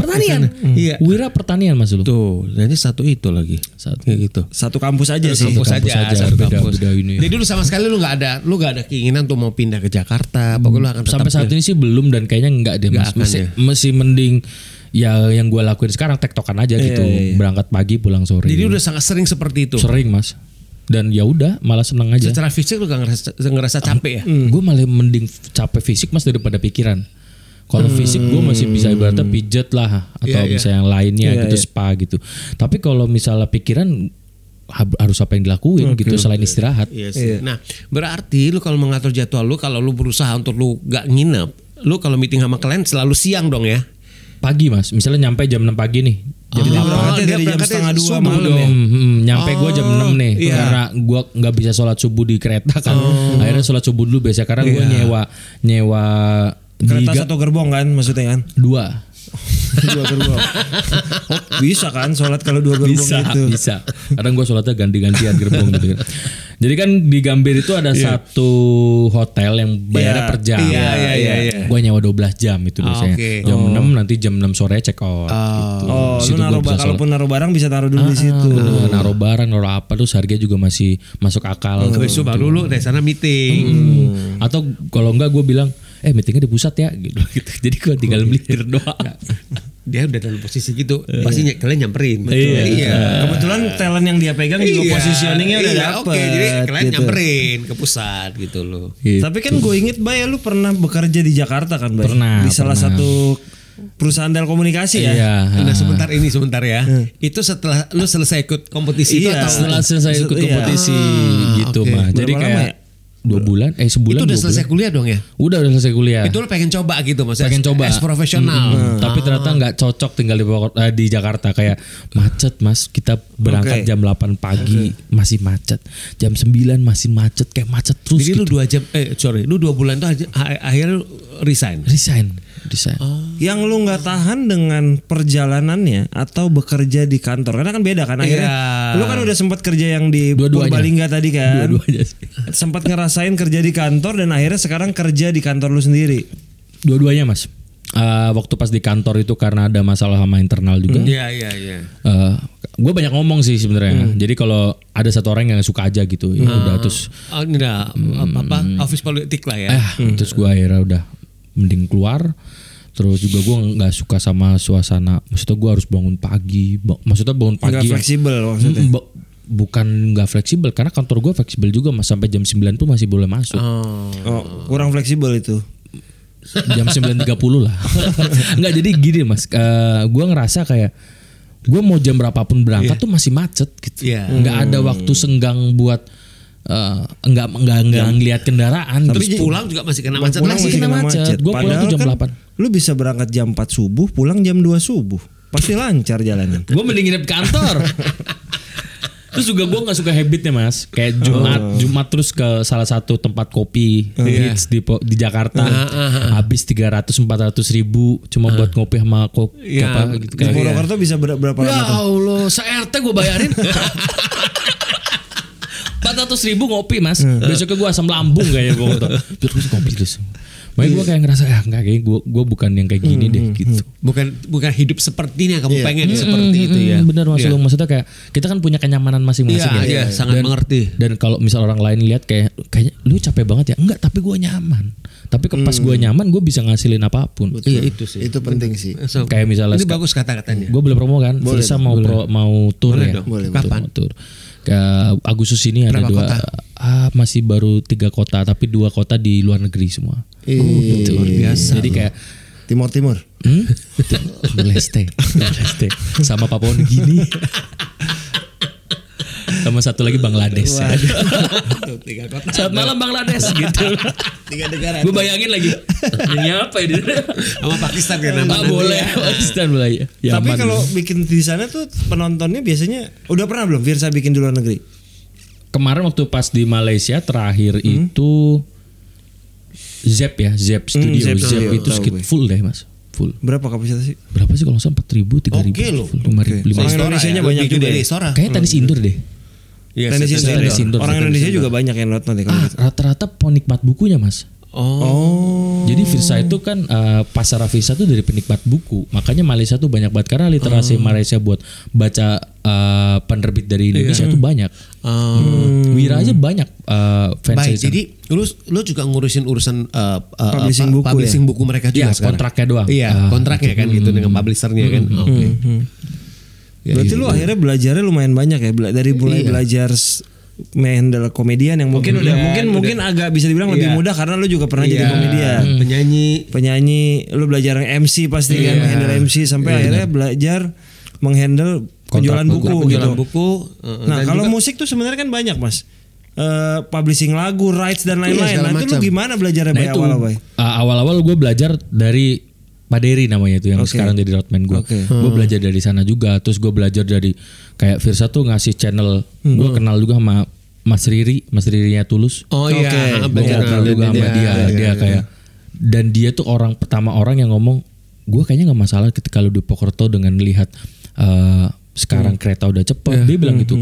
Speaker 3: pertanian.
Speaker 2: Hmm. Iya.
Speaker 3: Wira pertanian Mas Lu.
Speaker 2: Tuh, jadi satu itu lagi. Satu gitu.
Speaker 1: Satu kampus aja sih.
Speaker 2: Kampus
Speaker 3: kampus
Speaker 2: aja,
Speaker 3: aja, gitu.
Speaker 2: satu
Speaker 3: beda-
Speaker 2: kampus.
Speaker 3: beda
Speaker 1: Iya.
Speaker 3: ini.
Speaker 2: Jadi lu sama sekali lu nggak ada, lu nggak ada keinginan untuk mau pindah ke Jakarta. Pokoknya lu akan tetap
Speaker 3: sampai saat ini sih belum dan kayaknya enggak deh mas.
Speaker 2: akan
Speaker 3: Mesti,
Speaker 2: ya.
Speaker 3: mesti mending ya yang gua lakuin sekarang tektokan aja gitu. Berangkat pagi pulang sore.
Speaker 2: Iya, Jadi udah sangat sering seperti itu.
Speaker 3: sering mas. Dan ya udah malah seneng aja.
Speaker 2: Secara fisik lu gak ngerasa, ngerasa capek ya?
Speaker 3: Gue malah mending capek fisik mas daripada pikiran. Kalau fisik gue masih bisa ibaratnya pijet lah atau
Speaker 2: Hmm. Iya, iya.
Speaker 3: misalnya yang lainnya gitu spa gitu. Tapi kalau misalnya pikiran ha- harus apa yang
Speaker 2: Hmm,
Speaker 3: dilakuin gitu selain istirahat.
Speaker 2: Iya sih. Nah, berarti lu kalau mengatur jadwal lu kalau lu berusaha untuk lu gak nginep, lu kalau meeting sama klien selalu siang dong ya.
Speaker 3: Pagi mas, misalnya nyampe jam 6 pagi nih.
Speaker 1: Jadi
Speaker 3: Jam
Speaker 2: Oh,
Speaker 1: berangkatnya
Speaker 2: dia
Speaker 1: dari jam
Speaker 2: berangkatnya
Speaker 1: setengah dua
Speaker 2: subuh
Speaker 1: malam ya.
Speaker 2: dong.
Speaker 3: Hmm, hmm, nyampe gue jam 6 nih
Speaker 2: iya. Oh.
Speaker 3: karena gue nggak bisa sholat subuh di kereta kan akhirnya sholat subuh dulu biasa karena
Speaker 2: Iya.
Speaker 3: gue nyewa nyewa
Speaker 1: Kereta
Speaker 3: tiga
Speaker 1: satu gerbong kan maksudnya kan.
Speaker 3: dua
Speaker 1: dua gerbong. Oh, bisa kan sholat kalau dua gerbong
Speaker 3: bisa
Speaker 1: gitu.
Speaker 3: bisa kadang gue sholatnya ganti-gantian gerbong gitu kan jadi kan di Gambir itu ada satu hotel yang bayarnya
Speaker 1: Iya,
Speaker 3: per jam
Speaker 2: iya, iya, iya, iya. Ah,
Speaker 3: gue nyewa 12 jam itu biasanya
Speaker 2: oke. Oh. Ah.
Speaker 3: jam 6 nanti jam 6 sore check out gitu.
Speaker 1: Oh,
Speaker 3: Di
Speaker 1: lu naruh
Speaker 3: situ gua bisa
Speaker 1: ba-
Speaker 3: sholat.
Speaker 1: kalaupun naruh barang bisa taruh dulu di situ.
Speaker 3: Nah, naruh barang naruh apa terus harganya juga masih masuk akal
Speaker 2: Habis itu baru lu dari sana meeting. Hmm.
Speaker 3: atau kalau enggak gue bilang eh meetingnya di pusat ya gitu, gitu. jadi gue tinggal
Speaker 2: Oh,
Speaker 3: melipir
Speaker 2: iya.
Speaker 3: doang Gitu.
Speaker 2: Dia udah dalam posisi gitu,
Speaker 1: Iya.
Speaker 2: pasti ny- kalian nyamperin.
Speaker 3: Iya.
Speaker 1: Kebetulan talent yang dia pegang juga
Speaker 2: Iya.
Speaker 1: positioningnya udah
Speaker 2: Iya,
Speaker 1: dapet.
Speaker 2: Oke, jadi kalian
Speaker 1: gitu.
Speaker 2: nyamperin ke pusat gitu loh.
Speaker 3: Gitu.
Speaker 1: ya, Tapi kan gue inget Bay lu pernah bekerja di Jakarta kan Bay?
Speaker 3: Pernah,
Speaker 1: Di salah
Speaker 3: pernah.
Speaker 1: satu perusahaan telekomunikasi ya.
Speaker 3: Iya.
Speaker 2: Nah sebentar ini sebentar ya. Itu setelah lu selesai ikut kompetisi itu
Speaker 1: Iya.
Speaker 2: atau
Speaker 3: Setelah selesai ikut
Speaker 1: Iya.
Speaker 3: kompetisi
Speaker 2: Ah,
Speaker 3: gitu
Speaker 2: oke.
Speaker 3: mah. Jadi
Speaker 1: Berapa lama
Speaker 3: kayak
Speaker 1: ya?
Speaker 3: dua bulan, eh sebulan
Speaker 2: itu udah
Speaker 3: dua
Speaker 2: selesai
Speaker 3: bulan.
Speaker 2: kuliah dong ya?
Speaker 3: Udah udah selesai kuliah.
Speaker 2: Itu Ah. lu pengen coba gitu maksudnya?
Speaker 3: pengen
Speaker 2: as-
Speaker 3: coba
Speaker 2: As profesional.
Speaker 3: Mm-mm. tapi ternyata nggak cocok tinggal di Bogor- eh, di Jakarta kayak macet mas kita berangkat
Speaker 1: Oke.
Speaker 3: jam 8 pagi masih macet jam 9 masih macet kayak macet terus
Speaker 2: Jadi
Speaker 3: gitu.
Speaker 2: lu dua jam, eh sorry, lu dua bulan tuh aja- a- akhirnya lu resign.
Speaker 3: resign resign
Speaker 2: Oh.
Speaker 1: Yang lu nggak tahan dengan perjalanannya atau bekerja di kantor karena kan beda kan akhirnya.
Speaker 2: Iya.
Speaker 1: Lu kan udah sempat kerja yang di
Speaker 3: Dua-duanya.
Speaker 1: Purbalingga tadi kan.
Speaker 3: Dua-duanya sih.
Speaker 1: Sempat ngerasain kerja di kantor dan akhirnya sekarang kerja di kantor lu sendiri.
Speaker 3: dua-duanya mas Eh, waktu pas di kantor itu karena ada masalah sama internal juga
Speaker 1: Hmm.
Speaker 2: Iya iya iya.
Speaker 3: gue banyak ngomong sih sebenarnya
Speaker 1: Hmm.
Speaker 3: jadi kalau ada satu orang yang suka aja gitu ya udah terus
Speaker 2: Oh, ini dah apa, apa office politik lah ya.
Speaker 3: eh
Speaker 1: Hmm.
Speaker 3: terus gue akhirnya udah mending keluar terus juga gue nggak suka sama suasana maksudnya gue harus bangun pagi ba- maksudnya bangun
Speaker 1: Nggak
Speaker 3: pagi ya. yang-
Speaker 1: fleksibel maksudnya.
Speaker 3: Mm, ba- bukan nggak fleksibel karena kantor gue fleksibel juga mas sampai jam 9 pun masih boleh masuk
Speaker 1: Oh, kurang fleksibel itu.
Speaker 3: jam 9.30 lah nggak jadi gini mas Eh, gue ngerasa kayak gue mau jam berapapun berangkat tuh masih macet gitu
Speaker 2: Iya.
Speaker 3: nggak ada waktu senggang buat eh, nggak nggak nggak ngelihat kendaraan
Speaker 2: Terus
Speaker 3: terus
Speaker 2: pulang juga masih kena macet
Speaker 1: Pulang
Speaker 2: lagi.
Speaker 1: masih kena macet.
Speaker 3: Gua pulang
Speaker 1: Padahal
Speaker 3: tuh jam
Speaker 1: kan
Speaker 3: 8.
Speaker 1: Lu bisa berangkat jam 4 subuh, pulang jam 2 subuh. Pasti lancar jalannya.
Speaker 3: gue mending nginep kantor terus juga gue nggak suka habitnya mas kayak jumat
Speaker 2: Oh.
Speaker 3: jumat terus ke salah satu tempat kopi
Speaker 2: iya.
Speaker 3: hits di po- di
Speaker 2: Ah,
Speaker 3: Jakarta habis 300 400 ribu cuma buat ngopi sama kopi
Speaker 2: Iya,
Speaker 3: apa
Speaker 1: Di
Speaker 3: gitu kayak
Speaker 1: Purwokerto bisa ber- berapa
Speaker 3: ya
Speaker 1: lama tuh?
Speaker 3: allah se rt gue bayarin 400 ribu ngopi mas besoknya gue asam lambung kayaknya gue terus ngopi terus Makanya gue kayak ngerasa ya enggak kayak gue gue bukan yang kayak gini deh gitu
Speaker 2: Bukan bukan hidup seperti ini yang kamu pengen seperti
Speaker 3: Mm,
Speaker 2: itu
Speaker 3: mm,
Speaker 2: ya.
Speaker 3: Benar maksud lu. maksudnya kayak kita kan punya kenyamanan masing-masing
Speaker 2: Iya, iya,
Speaker 3: ya.
Speaker 2: sangat
Speaker 3: Dan-
Speaker 2: mengerti.
Speaker 3: Dan kalau misal orang lain lihat kayak kayaknya lu capek banget ya. Enggak, tapi gua nyaman. Tapi ke- pas gua nyaman gua bisa ngasilin apapun.
Speaker 2: Iya itu sih. Oh,
Speaker 4: Itu penting sih.
Speaker 2: So,
Speaker 3: Kayak misalnya
Speaker 2: ini
Speaker 3: seka-
Speaker 2: bagus kata-katanya.
Speaker 3: Gue belum promo kan, Firsa mau pro, mau tour
Speaker 2: Boleh
Speaker 3: ya.
Speaker 2: dong.
Speaker 3: Boleh,
Speaker 2: Kapan?
Speaker 3: Tour. Ke Agustus ini ada
Speaker 2: Berapa
Speaker 3: dua
Speaker 2: kota?
Speaker 3: ah masih baru tiga kota tapi dua kota di luar negeri semua.
Speaker 4: Ih,
Speaker 3: Luar
Speaker 1: Iya.
Speaker 3: biasa. Jadi kayak
Speaker 4: Timur Timur.
Speaker 3: Hmm? Beleste, Beleste. Sama Papua New Guinea. Sama satu lagi Bangladesh. ya. Saat malam Bangladesh gitu.
Speaker 4: Tiga negara.
Speaker 3: Gue bayangin lagi. Ini apa ini?
Speaker 2: Sama Pakistan kan nama
Speaker 3: Ah,
Speaker 2: nanti
Speaker 3: boleh.
Speaker 2: ya.
Speaker 3: Pakistan boleh. Ya,
Speaker 1: Tapi
Speaker 3: aman.
Speaker 1: kalau bikin di sana tuh penontonnya biasanya udah pernah belum Virsa bikin di luar negeri?
Speaker 3: kemarin waktu pas di Malaysia terakhir
Speaker 1: Hmm?
Speaker 3: itu Zep ya, Zep Studio.
Speaker 1: Zep
Speaker 3: Zep,
Speaker 1: Studio,
Speaker 3: itu
Speaker 1: tahu
Speaker 3: sekit
Speaker 1: gue.
Speaker 3: full deh, Mas. Full.
Speaker 1: Berapa kapasitas sih?
Speaker 3: Berapa sih kalau nggak salah 4000, 3000,
Speaker 2: Oke loh.
Speaker 3: full, 5000,
Speaker 1: Orang
Speaker 3: 5000.
Speaker 1: Indonesia-nya
Speaker 2: Lebih
Speaker 1: banyak juga
Speaker 2: dari
Speaker 1: ya.
Speaker 2: Istora.
Speaker 3: Kayaknya tenis indoor deh.
Speaker 2: Iya,
Speaker 1: Tenis
Speaker 2: setelah
Speaker 1: indoor.
Speaker 3: tenis indoor,
Speaker 1: Orang
Speaker 3: tenis
Speaker 1: Indonesia
Speaker 3: indoor.
Speaker 1: juga banyak yang nonton deh kalau
Speaker 3: Ah,
Speaker 1: gitu.
Speaker 3: rata-rata penikmat bukunya, Mas.
Speaker 2: Oh.
Speaker 1: Oh.
Speaker 3: Jadi Virsa itu kan eh, pasar Virsa itu dari penikmat buku. Makanya Malaysia tuh banyak banget
Speaker 1: Oh.
Speaker 3: karena literasi Malaysia buat baca eh, penerbit dari
Speaker 1: Iya.
Speaker 3: Indonesia tuh banyak.
Speaker 2: Ah.
Speaker 1: Hmm.
Speaker 3: Wira aja banyak eh, fans
Speaker 2: Baik,
Speaker 3: Virsa.
Speaker 2: jadi lu lu juga ngurusin urusan uh, uh,
Speaker 1: Publishing
Speaker 2: apa,
Speaker 1: buku
Speaker 2: publishing buku mereka juga
Speaker 3: Iya,
Speaker 2: sekarang.
Speaker 3: kontraknya doang.
Speaker 2: Iya,
Speaker 3: Ah,
Speaker 2: kontraknya kan gitu dengan publishernya kan. Oke. Ya,
Speaker 1: Berarti
Speaker 2: gitu.
Speaker 1: lu akhirnya belajarnya lumayan banyak ya Bela- dari mulai belajar s- menghandle komedian yang mungkin udah mungkin mungkin agak bisa dibilang lebih
Speaker 2: Iya.
Speaker 1: mudah karena lu juga pernah jadi
Speaker 2: Iya,
Speaker 1: komedian.
Speaker 2: penyanyi
Speaker 1: Iya, Penyanyi, lu belajar MC pasti kan
Speaker 2: Iya.
Speaker 1: menghandle MC sampai akhirnya belajar menghandle penjualan buku,
Speaker 2: penjualan
Speaker 1: gitu.
Speaker 2: buku. eh,
Speaker 1: Nah,
Speaker 2: dan
Speaker 1: kalau
Speaker 2: juga-
Speaker 1: musik tuh sebenarnya kan banyak, Mas. Eh publishing lagu, rights
Speaker 2: Iya,
Speaker 1: dan lain-lain.
Speaker 4: segala
Speaker 1: nah, itu lu
Speaker 4: macam.
Speaker 1: gimana belajarnya
Speaker 3: Nah
Speaker 1: Bay,
Speaker 3: itu
Speaker 1: awal Bay?
Speaker 3: uh, awal-awal gue belajar dari Paderi namanya itu yang
Speaker 1: Oke.
Speaker 3: sekarang jadi roadman gue.
Speaker 1: Oke.
Speaker 3: Gue belajar dari sana juga. Terus gue belajar dari kayak Virsa tuh ngasih channel.
Speaker 1: Hmm.
Speaker 3: Gue kenal juga sama Mas Riri, Mas Ririnya Tulus.
Speaker 2: Oh
Speaker 1: Oke.
Speaker 2: iya,
Speaker 1: Iya,
Speaker 2: ah,
Speaker 3: Gue
Speaker 2: benar.
Speaker 3: ngobrol juga sama dia. dia kayak dan dia tuh orang pertama orang yang ngomong gue kayaknya nggak masalah ketika lu di Pokerto dengan lihat
Speaker 1: Hmm.
Speaker 3: eh, sekarang kereta udah cepet. Dia bilang gitu.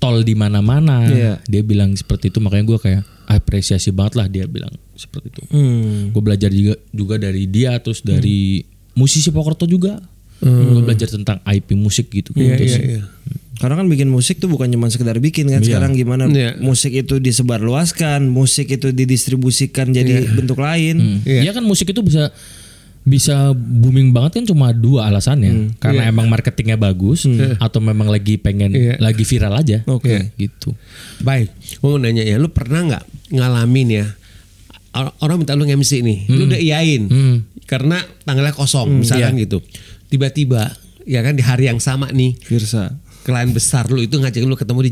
Speaker 3: Tol di mana-mana.
Speaker 1: Iya.
Speaker 3: Dia bilang seperti itu. Makanya gue kayak apresiasi banget lah dia bilang seperti itu
Speaker 1: Hmm.
Speaker 3: gue belajar juga juga dari dia terus dari musisi Pokerto juga gue belajar tentang IP musik gitu
Speaker 2: Iya,
Speaker 3: gitu sih.
Speaker 1: Karena kan bikin musik tuh bukan cuma sekedar bikin kan sekarang gimana
Speaker 2: Iya.
Speaker 1: musik itu disebarluaskan, musik itu didistribusikan jadi bentuk
Speaker 2: Hmm.
Speaker 1: lain.
Speaker 3: Iya kan musik itu bisa bisa booming banget kan cuma dua alasannya karena emang marketingnya bagus atau memang lagi pengen
Speaker 2: Iya.
Speaker 3: lagi viral aja
Speaker 1: Oke.
Speaker 3: gitu
Speaker 2: Baik, gue mau nanya ya, lu pernah nggak ngalamin ya or- orang minta lu nge-MC nih, lu udah iyain karena tanggalnya kosong misalkan gitu. Tiba-tiba ya kan di hari yang sama nih
Speaker 1: Firsa.
Speaker 2: klien besar lu itu ngajak lu ketemu di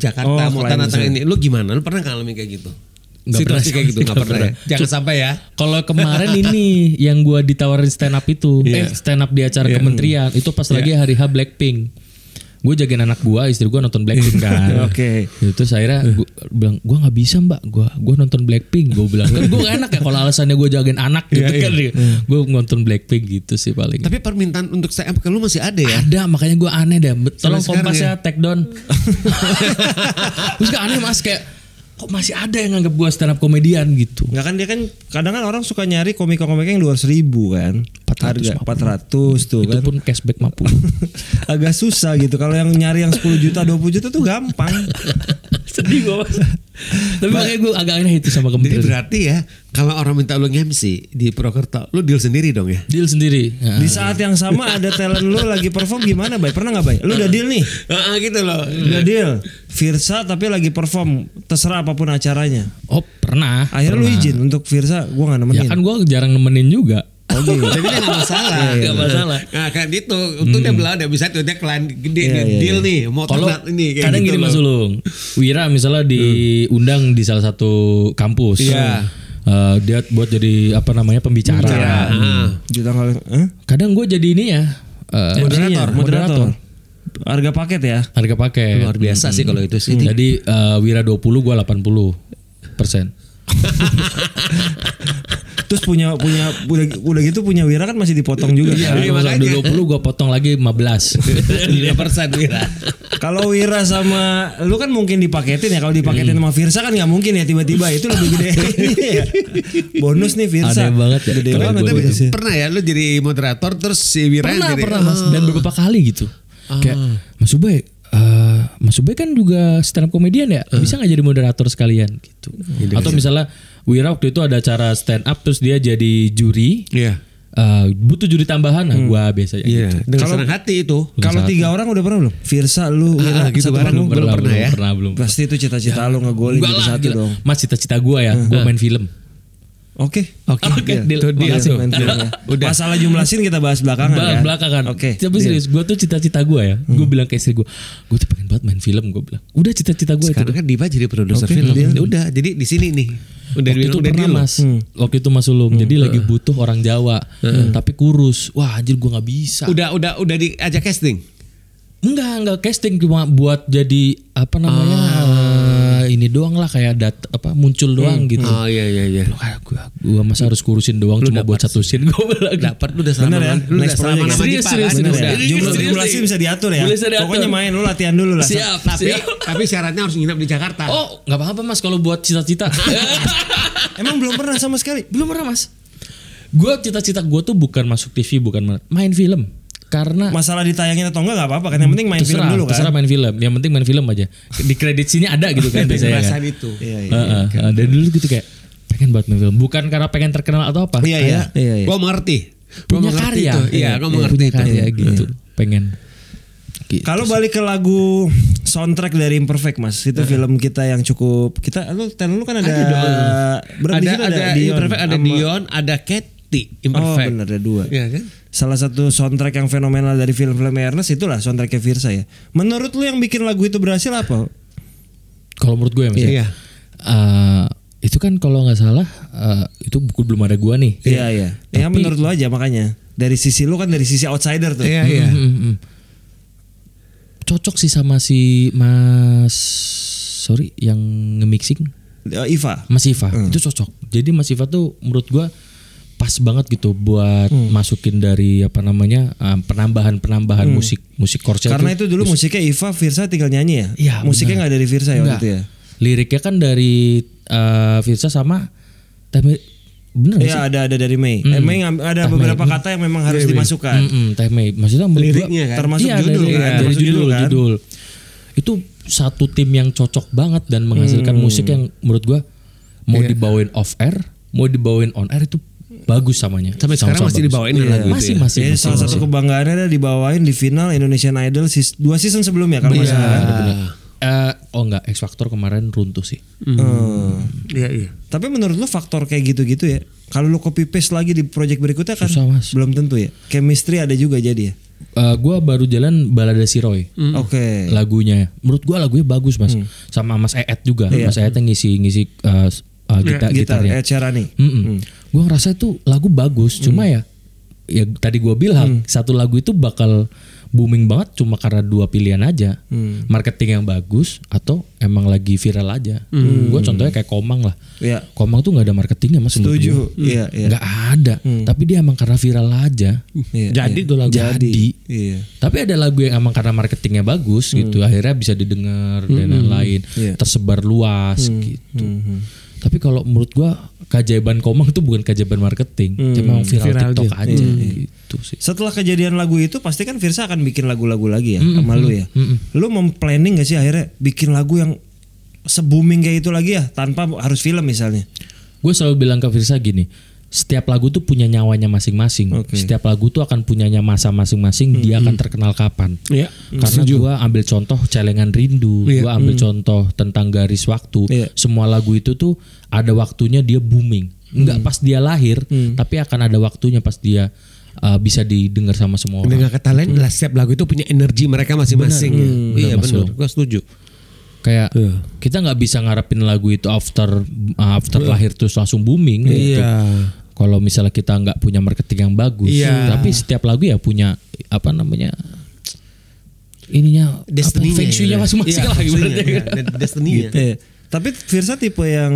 Speaker 1: Oh,
Speaker 2: Jakarta mau
Speaker 1: klien
Speaker 2: tanda tangan
Speaker 1: besar.
Speaker 2: ini, lu gimana? Lu pernah ngalamin kayak gitu?
Speaker 3: Nggak
Speaker 2: Situasi
Speaker 3: pernah.
Speaker 2: kayak gitu nggak
Speaker 3: Nggak
Speaker 2: pernah. ya?
Speaker 3: pernah.
Speaker 2: Jangan sampai ya.
Speaker 3: Kalau kemarin ini yang gua ditawarin stand up itu, eh, stand up di acara kementerian itu pas lagi hari H Blackpink. Gue jagain anak gua, istri gua nonton Blackpink kan.
Speaker 1: Oke.
Speaker 3: Itu saya akhirnya gua bilang, gua nggak bisa mbak, gua gua nonton Blackpink. Gue bilang, kan gue enak ya kalau alasannya gue jagain anak gitu kan. Gue nonton Blackpink gitu sih paling.
Speaker 2: Tapi kan permintaan untuk saya ke lu masih ada ya?
Speaker 3: Ada makanya gue aneh dah. Be- Tolong
Speaker 2: sekarang
Speaker 3: kompasnya take down. Terus gak aneh mas kayak kok masih ada yang nganggap gue stand up komedian gitu.
Speaker 1: Enggak kan dia kan kadang kan orang suka nyari komik-komik yang 200 ribu kan.
Speaker 3: 450.
Speaker 1: Harga 400 tuh
Speaker 3: Itu
Speaker 1: kan.
Speaker 3: pun cashback 50
Speaker 1: Agak susah gitu. Kalau yang nyari yang 10 juta, 20 juta tuh gampang.
Speaker 3: Sedih gue mas. Tapi makanya gue agak aneh itu sama
Speaker 2: Jadi
Speaker 3: kementerian.
Speaker 2: berarti ya kalau orang minta lu nge-MC di Prokerto, lu deal sendiri dong ya?
Speaker 3: Deal sendiri. Ya.
Speaker 1: Di saat yang sama ada talent lu lagi perform gimana, Bay? Pernah nggak, Bay? Lu udah deal nih.
Speaker 2: Heeh, gitu loh.
Speaker 1: Udah deal. Firsa tapi lagi perform terserah apapun acaranya.
Speaker 3: Oh pernah.
Speaker 1: Akhirnya lu izin untuk Firsa, gua nggak
Speaker 3: Ya
Speaker 1: nemenin.
Speaker 3: kan gue jarang nemenin juga.
Speaker 1: Oh, gitu.
Speaker 2: Tapi dia gak masalah.
Speaker 3: Nggak masalah.
Speaker 2: Nah kan itu. Itu dia bilang dia bisa tuh dia klien gede
Speaker 1: Iya,
Speaker 2: dia
Speaker 1: iya,
Speaker 2: deal
Speaker 1: iya.
Speaker 2: nih. Mau
Speaker 3: Kalau
Speaker 2: ternak ini. kayak
Speaker 3: kadang
Speaker 2: gitu
Speaker 3: gini
Speaker 2: loh.
Speaker 3: Mas Ulung, Wira misalnya diundang di salah satu kampus.
Speaker 2: Iya.
Speaker 3: Eh, dia buat jadi apa namanya pembicara.
Speaker 2: Ah.
Speaker 1: Hmm. Juta kali. Hah?
Speaker 3: Kadang gue jadi ini ya. eh,
Speaker 1: Moderator,
Speaker 3: MC-nya,
Speaker 1: moderator. Harga paket ya.
Speaker 3: Harga pakai.
Speaker 2: Luar biasa sih kalau itu sih.
Speaker 3: Jadi eh, Wira 20 gue 80 persen.
Speaker 1: Terus punya punya udah, udah gitu punya Wira kan masih dipotong juga. kan?
Speaker 2: iya, makanya.
Speaker 3: 20 gue potong lagi 15.
Speaker 2: 5% Wira.
Speaker 1: Kalau Wira sama lu kan mungkin dipaketin ya. Kalau dipaketin sama Firsa kan nggak mungkin ya tiba-tiba itu lebih gede. Iya ya. Bonus nih Firsa.
Speaker 3: Aneh banget ya.
Speaker 1: Gede
Speaker 3: Keren
Speaker 1: banget
Speaker 3: bonus.
Speaker 1: bonusnya.
Speaker 2: Pernah ya lu jadi moderator terus si Wira
Speaker 3: pernah
Speaker 2: jadi, Oh.
Speaker 3: pernah mas dan beberapa kali gitu kayak Mas Ubay eh, Mas Ubay kan juga stand up komedian ya bisa nggak jadi moderator sekalian gitu atau misalnya Wira waktu itu ada acara stand up terus dia jadi juri
Speaker 2: Iya.
Speaker 3: Eh, butuh juri tambahan nah gua biasanya
Speaker 2: Iya.
Speaker 3: gitu
Speaker 2: Dengan senang hati itu.
Speaker 1: Kalau tiga orang udah pernah belum? Firsa, lu, Wira,
Speaker 2: Ah, gitu
Speaker 1: satu
Speaker 2: bareng.
Speaker 1: panggung.
Speaker 2: Belum pernah ya?
Speaker 3: pernah belum Ya.
Speaker 1: Pasti itu cita-cita lu ngegolin
Speaker 3: Enggak
Speaker 1: jadi
Speaker 3: lah,
Speaker 1: satu
Speaker 3: gila.
Speaker 1: dong.
Speaker 3: mas cita-cita gua ya gua main film
Speaker 1: Oke.
Speaker 2: Oke.
Speaker 3: Oke,
Speaker 2: Iya.
Speaker 3: deal.
Speaker 2: Tuh, deal.
Speaker 3: Makasih.
Speaker 1: Main filmnya.
Speaker 2: Udah.
Speaker 1: Masalah jumlah scene kita bahas belakangan
Speaker 3: Bel-
Speaker 1: ya.
Speaker 3: belakangan.
Speaker 1: Oke.
Speaker 3: kan. Tapi
Speaker 1: deal.
Speaker 3: serius, gue tuh cita-cita gue ya. Gue bilang ke istri gue, gue tuh pengen banget main film. Gue bilang, udah cita-cita gue itu.
Speaker 2: Sekarang kan Diva jadi produser film. Udah. Jadi di sini nih. Udah
Speaker 3: waktu itu
Speaker 2: udah
Speaker 3: pernah
Speaker 2: deal.
Speaker 3: mas,
Speaker 1: Hmm.
Speaker 3: waktu itu mas Ulung, jadi lagi butuh orang Jawa, Hmm. tapi kurus. Wah anjir gue nggak bisa.
Speaker 2: Udah udah udah diajak casting.
Speaker 3: Enggak enggak casting cuma buat jadi apa namanya
Speaker 1: Ah.
Speaker 3: eh, ini doang lah kayak dat- apa
Speaker 1: Hmm.
Speaker 3: muncul doang gitu.
Speaker 2: Oh iya iya iya.
Speaker 3: Loh, kayak gua, gua masa harus kurusin doang cuma buat satu scene gue bilang. gitu.
Speaker 2: Dapat lu udah sama
Speaker 1: Bener ya?
Speaker 2: lu udah
Speaker 1: Next
Speaker 2: sama
Speaker 1: project
Speaker 2: nama
Speaker 1: ya?
Speaker 3: Serius,
Speaker 2: Dipa
Speaker 3: serius,
Speaker 2: kan?
Speaker 1: Bener
Speaker 2: Udah.
Speaker 1: ya?
Speaker 3: Serius,
Speaker 1: Jumlah
Speaker 3: serius,
Speaker 1: jumlah scene
Speaker 3: serius.
Speaker 1: bisa diatur ya.
Speaker 3: Boleh bisa diatur.
Speaker 1: Pokoknya main lu latihan dulu lah.
Speaker 3: Siap,
Speaker 2: Tapi
Speaker 3: siap.
Speaker 2: tapi syaratnya harus nginep di Jakarta.
Speaker 3: Oh nggak apa-apa mas kalau buat cita-cita.
Speaker 1: Emang belum pernah sama sekali.
Speaker 3: Belum pernah mas. Gue cita-cita gue tuh bukan masuk TV, bukan ma- main film. Karena
Speaker 1: Masalah ditayangin atau enggak enggak apa-apa kan. Yang penting main film
Speaker 3: terserah,
Speaker 1: dulu kan.
Speaker 3: terserah main film. Yang penting main film aja. Di kredit sini ada gitu kan biasanya. kan.
Speaker 2: perasaan itu.
Speaker 1: Iya, iya.
Speaker 3: Heeh, heeh. dari dulu gitu kayak pengen buat main film. Bukan karena pengen terkenal atau apa.
Speaker 2: Iya iya.
Speaker 1: Iya, iya.
Speaker 2: Gua mengerti. Gua
Speaker 3: Punya
Speaker 2: mengerti
Speaker 3: karya.
Speaker 2: itu. Iya, gua mengerti
Speaker 3: punya
Speaker 2: itu.
Speaker 3: karya gitu. Pengen. Gitu.
Speaker 1: Kalau balik ke lagu soundtrack dari Imperfect Mas, itu
Speaker 2: Iya.
Speaker 1: film kita yang cukup kita lu talent lu kan ada berapa
Speaker 2: Ada
Speaker 1: di situ
Speaker 2: ada
Speaker 1: Dion
Speaker 2: Imperfect, ada
Speaker 1: sama-
Speaker 2: Dion, ada Katy
Speaker 1: Oh
Speaker 2: Imperfect.
Speaker 1: bener ada dua.
Speaker 2: Iya kan?
Speaker 1: Salah satu soundtrack yang fenomenal dari film-film Ernest itulah soundtracknya Virsa ya. Menurut lu yang bikin lagu itu berhasil apa?
Speaker 3: Kalau menurut gue ya mas. ya,
Speaker 2: Iya.
Speaker 3: eh, itu kan kalau nggak salah eh, itu buku belum ada gua nih.
Speaker 1: Iya iya. Ya menurut lu aja makanya. Dari sisi lu kan dari sisi outsider tuh.
Speaker 2: Iya iya.
Speaker 3: Mm, mm, mm. Cocok sih sama si Mas sorry yang nge-mixing
Speaker 1: Eh, Iva.
Speaker 3: Mas Iva. Itu cocok. Jadi Mas Iva tuh menurut gua pas banget gitu buat
Speaker 1: Hmm.
Speaker 3: masukin dari apa namanya um, penambahan-penambahan musik musik korsel
Speaker 1: Hmm. Karena
Speaker 3: tuh.
Speaker 1: itu dulu musiknya Iva, Virsa tinggal nyanyi ya.
Speaker 3: Iya,
Speaker 1: musiknya nggak dari Virsa ya waktu
Speaker 3: Enggak.
Speaker 1: itu ya.
Speaker 3: Liriknya kan dari eh, Virsa sama Teh Mei- bener nggak
Speaker 1: Iya
Speaker 3: sih?
Speaker 1: ada ada dari Mei. Eh,
Speaker 2: Hmm.
Speaker 1: Mei ngam-
Speaker 2: Ah,
Speaker 1: ada
Speaker 3: Mei.
Speaker 1: beberapa kata yang memang harus
Speaker 2: Iya,
Speaker 1: dimasukkan.
Speaker 3: Mm-mm, Teh Mei. Maksudnya menurut gua-
Speaker 2: Liriknya kan.
Speaker 1: Termasuk
Speaker 3: Iya,
Speaker 1: judul
Speaker 3: dari,
Speaker 1: iya. kan?
Speaker 3: dari
Speaker 1: Termasuk
Speaker 3: judul,
Speaker 1: judul kan?
Speaker 3: judul. Itu satu tim yang cocok banget dan menghasilkan
Speaker 1: Hmm.
Speaker 3: musik yang menurut gua mau
Speaker 1: Iya.
Speaker 3: dibawain off air, mau dibawain on air itu bagus samanya.
Speaker 2: Sampai sekarang
Speaker 3: Sama-sama
Speaker 2: masih
Speaker 3: bagus. Iya,
Speaker 2: dibawain ya lagu itu
Speaker 3: Masih
Speaker 2: ya?
Speaker 3: masih.
Speaker 1: Jadi
Speaker 3: masih,
Speaker 1: salah
Speaker 3: masih.
Speaker 1: satu
Speaker 3: Iya.
Speaker 1: kebanggaannya ada dibawain di final Indonesian Idol sis- dua season sebelumnya kalau nggak salah.
Speaker 3: Eh, Oh enggak, X Factor kemarin runtuh sih.
Speaker 1: Eh,
Speaker 2: Iya iya.
Speaker 1: tapi menurut lu faktor kayak gitu-gitu ya kalau lu copy paste lagi di project berikutnya kan
Speaker 3: Susah, Mas.
Speaker 1: belum tentu ya chemistry ada juga jadi ya
Speaker 3: Eh gua baru jalan Balada Si Roy.
Speaker 1: oke
Speaker 3: lagunya. Menurut gua lagunya bagus mas,
Speaker 1: Hmm.
Speaker 3: sama Mas Eet juga. Mas Eet yang ngisi ngisi eh, s- eh, gita-
Speaker 1: Iya. gitar Hmm.
Speaker 3: gitarnya.
Speaker 1: Ed Sheeran nih
Speaker 3: Mm-mm. Gua ngerasa itu lagu bagus, cuma
Speaker 1: Hmm.
Speaker 3: ya, ya tadi gua bilang satu lagu itu bakal booming banget cuma karena dua pilihan aja,
Speaker 1: Hmm.
Speaker 3: marketing yang bagus atau emang lagi viral aja. Gua contohnya kayak Komang lah.
Speaker 1: Hmm. Iya.
Speaker 3: Komang tuh nggak ada marketingnya mas. menurut
Speaker 1: setuju
Speaker 3: gua.
Speaker 1: iya iya
Speaker 3: Nggak ada, tapi dia emang karena viral aja.
Speaker 1: Iya,
Speaker 2: Jadi tuh lagu.
Speaker 3: Jadi,
Speaker 1: iya
Speaker 3: tapi ada lagu yang emang karena marketingnya bagus gitu, akhirnya bisa didengar dan lain-lain,
Speaker 1: Hmm. Iya. Hmm.
Speaker 3: tersebar luas gitu. Tapi kalau menurut gua keajaiban Komang itu bukan keajaiban marketing,
Speaker 1: Hmm.
Speaker 3: cuma emang viral, TikTok aja gitu sih.
Speaker 1: setelah kejadian lagu itu pasti kan Virsa akan bikin lagu-lagu lagi ya sama lu ya lu memplanning gak sih akhirnya bikin lagu yang se-booming kayak itu lagi ya tanpa harus film misalnya
Speaker 3: Gue selalu bilang ke Firsa gini, setiap lagu tuh punya nyawanya masing-masing. Setiap lagu tuh akan punyanya masa masing-masing, dia akan terkenal kapan.
Speaker 2: Iya.
Speaker 3: Karena gua ambil contoh celengan rindu, gua ambil contoh tentang garis waktu.
Speaker 1: Iya.
Speaker 3: Semua lagu itu tuh ada waktunya dia booming. Enggak pas dia lahir, tapi akan ada waktunya pas dia uh, bisa didengar sama semua orang.
Speaker 2: Dengan kata lain, lah, setiap lagu itu punya energi mereka masing-masing. ya. Iya benar. Gue setuju.
Speaker 3: Kayak kita nggak bisa ngarepin lagu itu after uh, after lahir terus langsung booming. gitu. Kalau misalnya kita nggak punya marketing yang bagus,
Speaker 2: Iya.
Speaker 3: tapi setiap lagu ya punya apa namanya ininya
Speaker 2: Destiny.
Speaker 3: apa, feng shui-nya
Speaker 2: ya. Iya,
Speaker 3: masing-masing lah ibaratnya.
Speaker 2: Destiny.
Speaker 1: Iya. Tapi Virsa tipe yang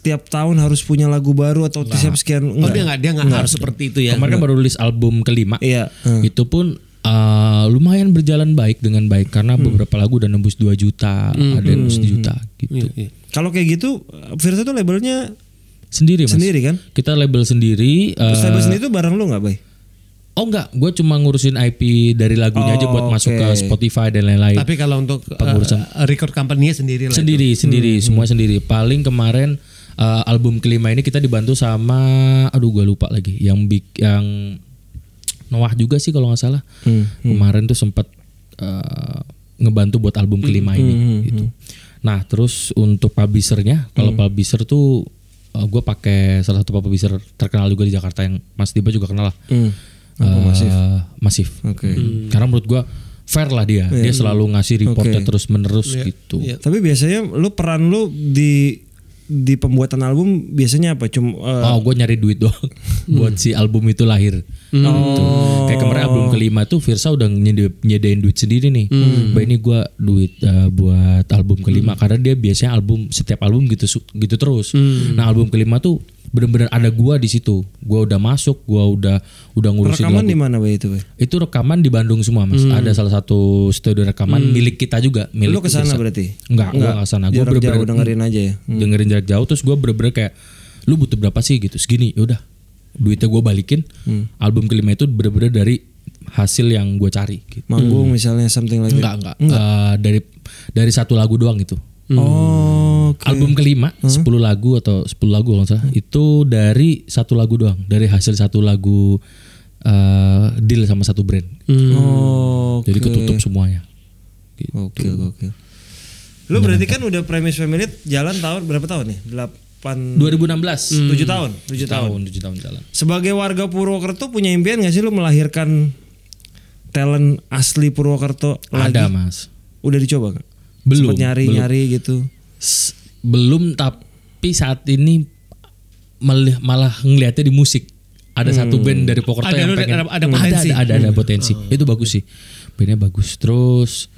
Speaker 1: tiap tahun harus punya lagu baru atau tiap sekian
Speaker 2: Oh
Speaker 1: enggak.
Speaker 2: dia nggak dia nggak harus seperti itu ya.
Speaker 3: Kemarin kan baru rilis album kelima.
Speaker 1: Iya.
Speaker 3: Itu pun uh, lumayan berjalan baik dengan baik karena beberapa lagu udah nembus 2 juta, ada yang nembus 1 juta gitu.
Speaker 2: Iya.
Speaker 1: Kalau kayak gitu Virsa tuh labelnya
Speaker 3: Sendiri Mas.
Speaker 1: sendiri kan?
Speaker 3: Kita label sendiri uh,
Speaker 1: Terus label sendiri tuh bareng lu nggak, Bay?
Speaker 3: Oh enggak, gue cuma ngurusin IP dari lagunya aja buat masuk ke Spotify dan lain-lain.
Speaker 2: Tapi kalau untuk
Speaker 3: Pengurusan.
Speaker 2: eh, record company-nya sendiri lah.
Speaker 3: sendiri sendiri semua sendiri paling kemarin uh, album kelima ini kita dibantu sama aduh gua lupa lagi yang big yang Noah juga sih kalau nggak salah kemarin tuh sempat uh, ngebantu buat album kelima ini gitu nah terus untuk publishernya kalau publisher tuh uh, gua pakai salah satu publisher terkenal juga di Jakarta yang Mas Diba juga kenal lah
Speaker 1: Hmm.
Speaker 3: Uh, masif Hmm. karena menurut gua fair lah dia dia selalu ngasih reportnya terus menerus gitu
Speaker 1: Tapi biasanya lu peran lu di di pembuatan album biasanya apa? Cuma eh,
Speaker 3: Oh, gue nyari duit doang buat si album itu lahir. Gitu.
Speaker 1: Oh.
Speaker 3: Kayak kemarin album kelima tuh Virsa udah nyedi- nyediain duit sendiri nih. Mbak ini gue duit uh, buat album kelima karena dia biasanya album setiap album gitu su- gitu terus. Nah, album kelima tuh bener-bener ada gua di situ. Gua udah masuk, gua udah udah ngurusin
Speaker 1: rekaman
Speaker 3: lagu.
Speaker 1: di mana, Bay itu, Bay?
Speaker 3: Itu rekaman di Bandung semua, Mas. Ada salah satu studio rekaman milik kita juga, milik
Speaker 1: Hmm. Lu ke sana berarti?
Speaker 3: Enggak, gue gak sana. Gue
Speaker 1: Jarak jauh
Speaker 3: bener-bener Hmm.
Speaker 1: dengerin aja ya.
Speaker 3: dengerin jarak jauh terus gue bener-bener kayak lu butuh berapa sih gitu segini yaudah duitnya gue balikin
Speaker 1: Hmm.
Speaker 3: album kelima itu bener-bener dari hasil yang gue cari gitu.
Speaker 1: Manggung misalnya something like that.
Speaker 3: enggak enggak, Eh, dari dari satu lagu doang gitu
Speaker 1: Oh, oke.
Speaker 3: album kelima 10 lagu atau 10 lagu kalau nggak salah itu dari satu lagu doang dari hasil satu lagu eh, deal sama satu brand
Speaker 1: Hmm. Oh,
Speaker 3: Hmm. jadi ketutup semuanya gitu.
Speaker 1: Oke, oke. Lu berarti kan udah premis family jalan tahun berapa tahun nih? 8
Speaker 3: 2016
Speaker 1: 7 tahun, 7 Hmm. tahun.
Speaker 3: hmm. tahun 7 tahun jalan
Speaker 1: Sebagai warga Purwokerto punya impian gak sih lu melahirkan talent asli Purwokerto lagi?
Speaker 3: ada mas
Speaker 1: Udah dicoba gak?
Speaker 3: Belum,
Speaker 1: Sempet nyari-nyari gitu.
Speaker 3: S- belum tapi saat ini melih- malah ngelihatnya di musik ada satu band dari Pokerto
Speaker 2: Ada-
Speaker 3: yang
Speaker 2: ada-
Speaker 3: pengen
Speaker 2: ada- Hmm. ada
Speaker 3: ada
Speaker 2: potensi.
Speaker 3: ada, ada potensi itu bagus sih bandnya bagus terus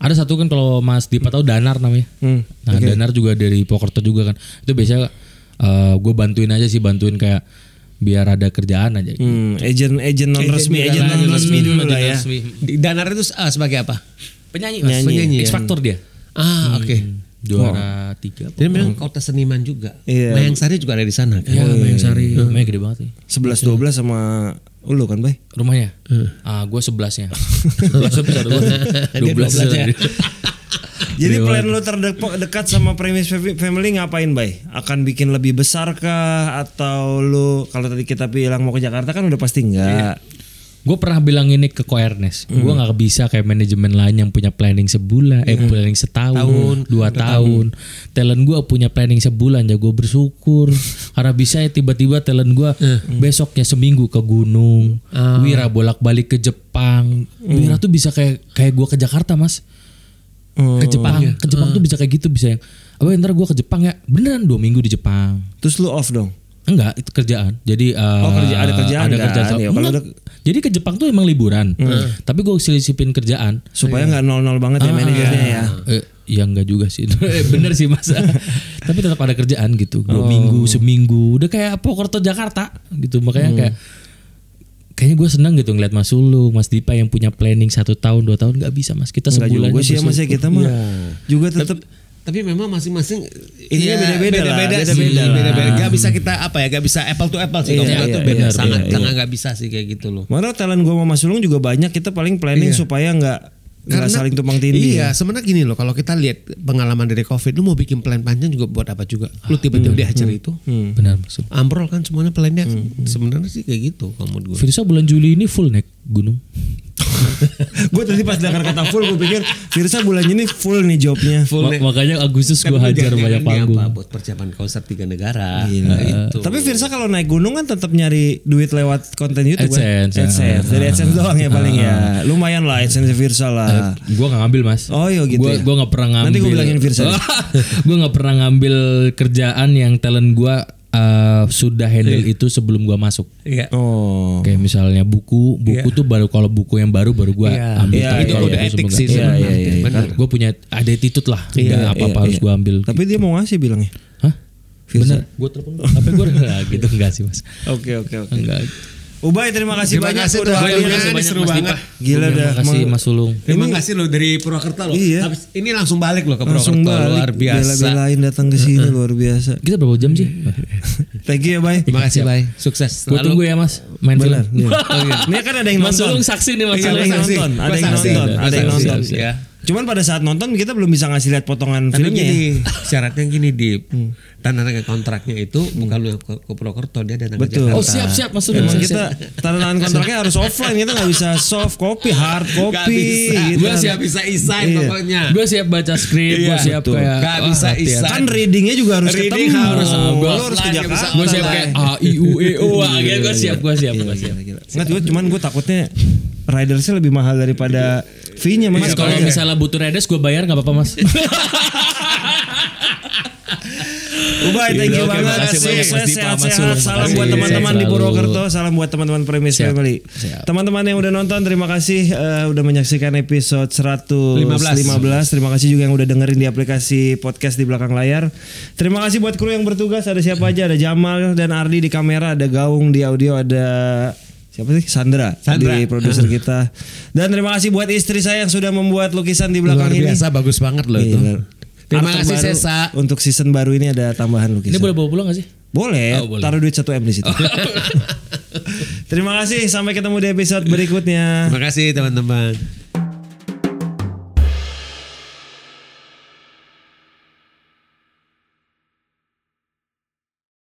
Speaker 3: ada satu kan kalau Mas Dipa tahu Danar namanya
Speaker 1: Hmm.
Speaker 3: nah Danar juga dari Pokerto juga kan itu biasanya gue bantuin aja sih bantuin kayak biar ada kerjaan aja
Speaker 1: Hmm, agent agent non resmi, agent non resmi dulu lah ya.
Speaker 2: Di- Danar itu eh, sebagai apa?
Speaker 3: penyanyi
Speaker 2: Penyanyi,
Speaker 3: Mas penyanyi
Speaker 2: ya.
Speaker 3: X Factor dia
Speaker 2: Ah oke.
Speaker 3: juara tiga
Speaker 2: Jadi memang kota seniman juga.
Speaker 1: Iya.
Speaker 2: Mayang Sari juga ada di sana kan.
Speaker 3: Mayang Iya, Sari Mayang gede banget sih
Speaker 1: 11 12 sama lu kan, Bay?
Speaker 3: rumahnya ah gue sebelasnya sebelas gue dua belas ya?
Speaker 1: Jadi plan lu terdekat sama premis Fa- family ngapain, Bay? Akan bikin lebih besar kah atau lu kalau tadi kita bilang mau ke Jakarta kan udah pasti enggak.
Speaker 3: Gue pernah bilang ini ke Ko Ernest, gue nggak bisa kayak manajemen lain yang punya planning sebulan, eh planning setahun, dua tahun. Talent gue punya planning sebulan, ya gue bersyukur karena bisa ya tiba-tiba talent gue besoknya seminggu ke gunung, Wira bolak-balik ke Jepang. Wira tuh bisa kayak kayak gue ke Jakarta mas, ke Jepang, ke Jepang tuh bisa kayak gitu bisa yang, apa ntar gue ke Jepang ya, beneran dua minggu di Jepang.
Speaker 1: Terus lu off dong.
Speaker 3: Enggak, itu kerjaan. Jadi eh,
Speaker 1: Oh, kerja- ada kerjaan
Speaker 3: ada
Speaker 1: kan?
Speaker 3: kerjaan.
Speaker 1: Ya, kalau Hmm.
Speaker 3: Enggak.
Speaker 1: udah-
Speaker 3: Jadi ke Jepang tuh emang liburan. Hmm. Tapi gue selisipin kerjaan.
Speaker 1: Supaya nggak nol-nol banget ya manajernya ya.
Speaker 3: Eh, ya enggak juga sih. Eh, Bener sih Mas. Tapi tetap ada kerjaan gitu.
Speaker 1: Oh.
Speaker 3: Dua minggu, seminggu. Udah kayak Purwokerto Jakarta gitu. Makanya
Speaker 1: Hmm.
Speaker 3: kayak Kayaknya gue senang gitu ngeliat Mas Sulung, Mas Dipa yang punya planning satu tahun, dua tahun nggak bisa Mas. Kita
Speaker 1: Enggak juga
Speaker 3: sebulan.
Speaker 1: gue sih ya, mas ya kita mah juga tetap
Speaker 2: Tapi memang masing-masing iya,
Speaker 1: Ininya beda-beda lah,
Speaker 2: beda-beda sih,
Speaker 1: beda-beda lah.
Speaker 2: beda-beda. Gak bisa kita apa ya, gak bisa apple to apple
Speaker 1: Iya,
Speaker 2: sih. Kalau nggak
Speaker 1: iya,
Speaker 2: tuh beda,
Speaker 1: iya,
Speaker 2: sangat
Speaker 1: iya,
Speaker 2: sangat gak bisa sih kayak gitu loh.
Speaker 1: Mana talent gue sama Mas Sulung juga banyak kita paling planning supaya nggak nggak saling tumpang tindih. ya.
Speaker 2: Iya, sebenarnya gini loh. Kalau kita lihat pengalaman dari COVID, lu mau bikin plan panjang juga buat apa juga?
Speaker 1: Ah,
Speaker 2: Lu tiba-tiba
Speaker 1: hmm,
Speaker 2: dihajar itu,
Speaker 3: Benar Mas. Sulung.
Speaker 2: ambrol kan semuanya plannya.
Speaker 1: hmm.
Speaker 2: Sebenarnya sih kayak gitu, kalau menurut gue.
Speaker 3: Firsa bulan Juli ini full naik gunung.
Speaker 1: gue tadi pas dengar kata full gue pikir Firsa bulan ini full Kan nih jobnya.
Speaker 3: Ma- makanya Agustus gue
Speaker 2: Tapi
Speaker 3: hajar
Speaker 2: jangan-jangan
Speaker 3: banyak
Speaker 2: dia
Speaker 3: panggung.
Speaker 2: apa, buat persiapan konser tiga negara. Gitu.
Speaker 1: Iya. Tapi Firsa kalau naik gunung kan tetap nyari duit lewat konten YouTube kan?
Speaker 3: AdSense, ya. Ah.
Speaker 1: AdSense. Dari AdSense doang ya paling ya. Lumayan lah AdSense Firsa lah.
Speaker 3: Gue gak ngambil mas.
Speaker 1: Oh, iya gitu
Speaker 3: Gue
Speaker 1: ya.
Speaker 3: gue gak pernah ngambil.
Speaker 1: Nanti gua bilangin Firsa deh.
Speaker 3: gue gak pernah ngambil kerjaan yang talent gue sudah handle itu sebelum gue masuk.
Speaker 2: Iya.
Speaker 1: Oh.
Speaker 3: Kayak misalnya buku, buku tuh baru kalau buku yang baru baru gue ambil.
Speaker 1: Iya,
Speaker 3: Tapi
Speaker 1: itu
Speaker 3: kalau
Speaker 2: udah
Speaker 3: buku
Speaker 2: etik
Speaker 3: sebelum-
Speaker 2: sih
Speaker 3: Iya,
Speaker 2: sebenarnya.
Speaker 3: iya, iya.
Speaker 2: Benar.
Speaker 3: Gue punya ada attitude lah. Udah apa apa harus gue ambil.
Speaker 1: Iya, Tapi dia mau ngasih bilangnya.
Speaker 3: Hah? Bener. Gue telepon. Tapi gue gitu enggak sih mas.
Speaker 1: Oke oke oke.
Speaker 3: Enggak.
Speaker 1: Ubay terima kasih
Speaker 2: Terima
Speaker 1: banyak
Speaker 2: kasih
Speaker 1: udah
Speaker 2: tuh,
Speaker 1: hadir.
Speaker 2: Ubay. seru banget.
Speaker 1: Gila dah.
Speaker 3: Terima kasih Mas Sulung.
Speaker 2: Terima kasih loh dari Purwakarta loh.
Speaker 1: Iya.
Speaker 2: Habis ini langsung balik loh ke
Speaker 1: Langsung
Speaker 2: Purwakarta
Speaker 1: balik
Speaker 2: luar biasa.
Speaker 1: Bela-belain datang ke sini luar biasa.
Speaker 3: Kita berapa jam sih?
Speaker 1: Iya. Thank you ya Bay.
Speaker 2: Terima kasih, Bay. Sukses.
Speaker 3: Gue tunggu ya mas. Main
Speaker 1: Benar. Iya.
Speaker 3: film.
Speaker 2: Oh,
Speaker 1: Ini kan ada yang
Speaker 3: Mas
Speaker 1: nonton.
Speaker 3: Sulung saksi nih Mas
Speaker 1: Iya, ada
Speaker 3: Sulung.
Speaker 1: yang
Speaker 2: saksi.
Speaker 1: nonton, ada
Speaker 2: Mas
Speaker 1: yang
Speaker 2: saksi.
Speaker 1: nonton,
Speaker 2: Mas
Speaker 1: ada yang
Speaker 2: saksi.
Speaker 1: nonton.
Speaker 2: Ya.
Speaker 1: Cuman pada saat nonton kita belum bisa ngasih lihat potongan
Speaker 2: Karena
Speaker 1: filmnya ya.
Speaker 2: gini, syaratnya gini di tanah kontraknya itu bukan lu yang ke, ke Purwokerto dia datang ke
Speaker 1: Betul.
Speaker 2: Jakarta.
Speaker 3: Oh siap siap Mas Sulung.
Speaker 1: Emang kita tanda tangan kontraknya harus offline kita nggak bisa soft copy, hard
Speaker 2: Gak
Speaker 1: copy.
Speaker 2: bisa.
Speaker 1: gitu.
Speaker 2: Gua siap bisa isain
Speaker 1: Iya.
Speaker 2: pokoknya.
Speaker 3: Gue siap baca skrip, gue
Speaker 2: Iya,
Speaker 3: siap
Speaker 2: betul.
Speaker 3: kayak
Speaker 2: Gak bisa
Speaker 3: hati-hati.
Speaker 2: isa.
Speaker 1: Kan readingnya juga harus
Speaker 2: Reading
Speaker 1: ketemu.
Speaker 2: harus
Speaker 1: Lu
Speaker 2: offline,
Speaker 1: harus ke
Speaker 2: nggak bisa Iya,
Speaker 1: Jakarta.
Speaker 3: Gue siap kayak A I U E O kayak gue siap gue siap gue siap.
Speaker 1: Nggak, gua- cuman gue takutnya ridersnya lebih mahal daripada fee-nya
Speaker 2: iya.
Speaker 1: Iya.
Speaker 3: Mas kalau
Speaker 1: Makanya-
Speaker 3: misalnya butuh redes gue bayar nggak apa-apa mas.
Speaker 1: Ubay, thank you
Speaker 3: Oke,
Speaker 1: banget.
Speaker 3: makasih
Speaker 1: Sukses,
Speaker 3: banyak, Mas Dipa, Mas
Speaker 1: sehat-sehat.
Speaker 3: Sulung.
Speaker 1: Salam
Speaker 3: Makasih.
Speaker 1: buat teman-teman
Speaker 3: Sehat
Speaker 1: di
Speaker 3: selalu.
Speaker 1: Purwokerto. Salam buat teman-teman Premis
Speaker 3: Siap,
Speaker 1: Family.
Speaker 3: siap.
Speaker 1: Teman-teman yang udah nonton, terima kasih eh, udah menyaksikan episode 115. Terima kasih juga yang udah dengerin di aplikasi podcast di belakang layar. Terima kasih buat kru yang bertugas. Ada siapa aja? Ada Jamal dan Ardi di kamera. Ada Gaung di audio. Ada siapa sih? Sandra,
Speaker 2: Sandra.
Speaker 1: di produser kita. Dan terima kasih buat istri saya yang sudah membuat lukisan di belakang
Speaker 2: Luar biasa
Speaker 1: ini. Iya.
Speaker 2: bagus banget loh itu.
Speaker 1: Gila.
Speaker 2: Terima
Speaker 1: Art
Speaker 2: kasih
Speaker 1: terbaru
Speaker 2: Sesa.
Speaker 1: Untuk season baru ini ada tambahan lukisan.
Speaker 3: Ini boleh bawa pulang gak sih?
Speaker 1: Boleh, ya,
Speaker 3: Oh, boleh.
Speaker 1: taruh duit 1 M di situ. Terima kasih, sampai ketemu di episode berikutnya.
Speaker 2: Terima kasih teman-teman.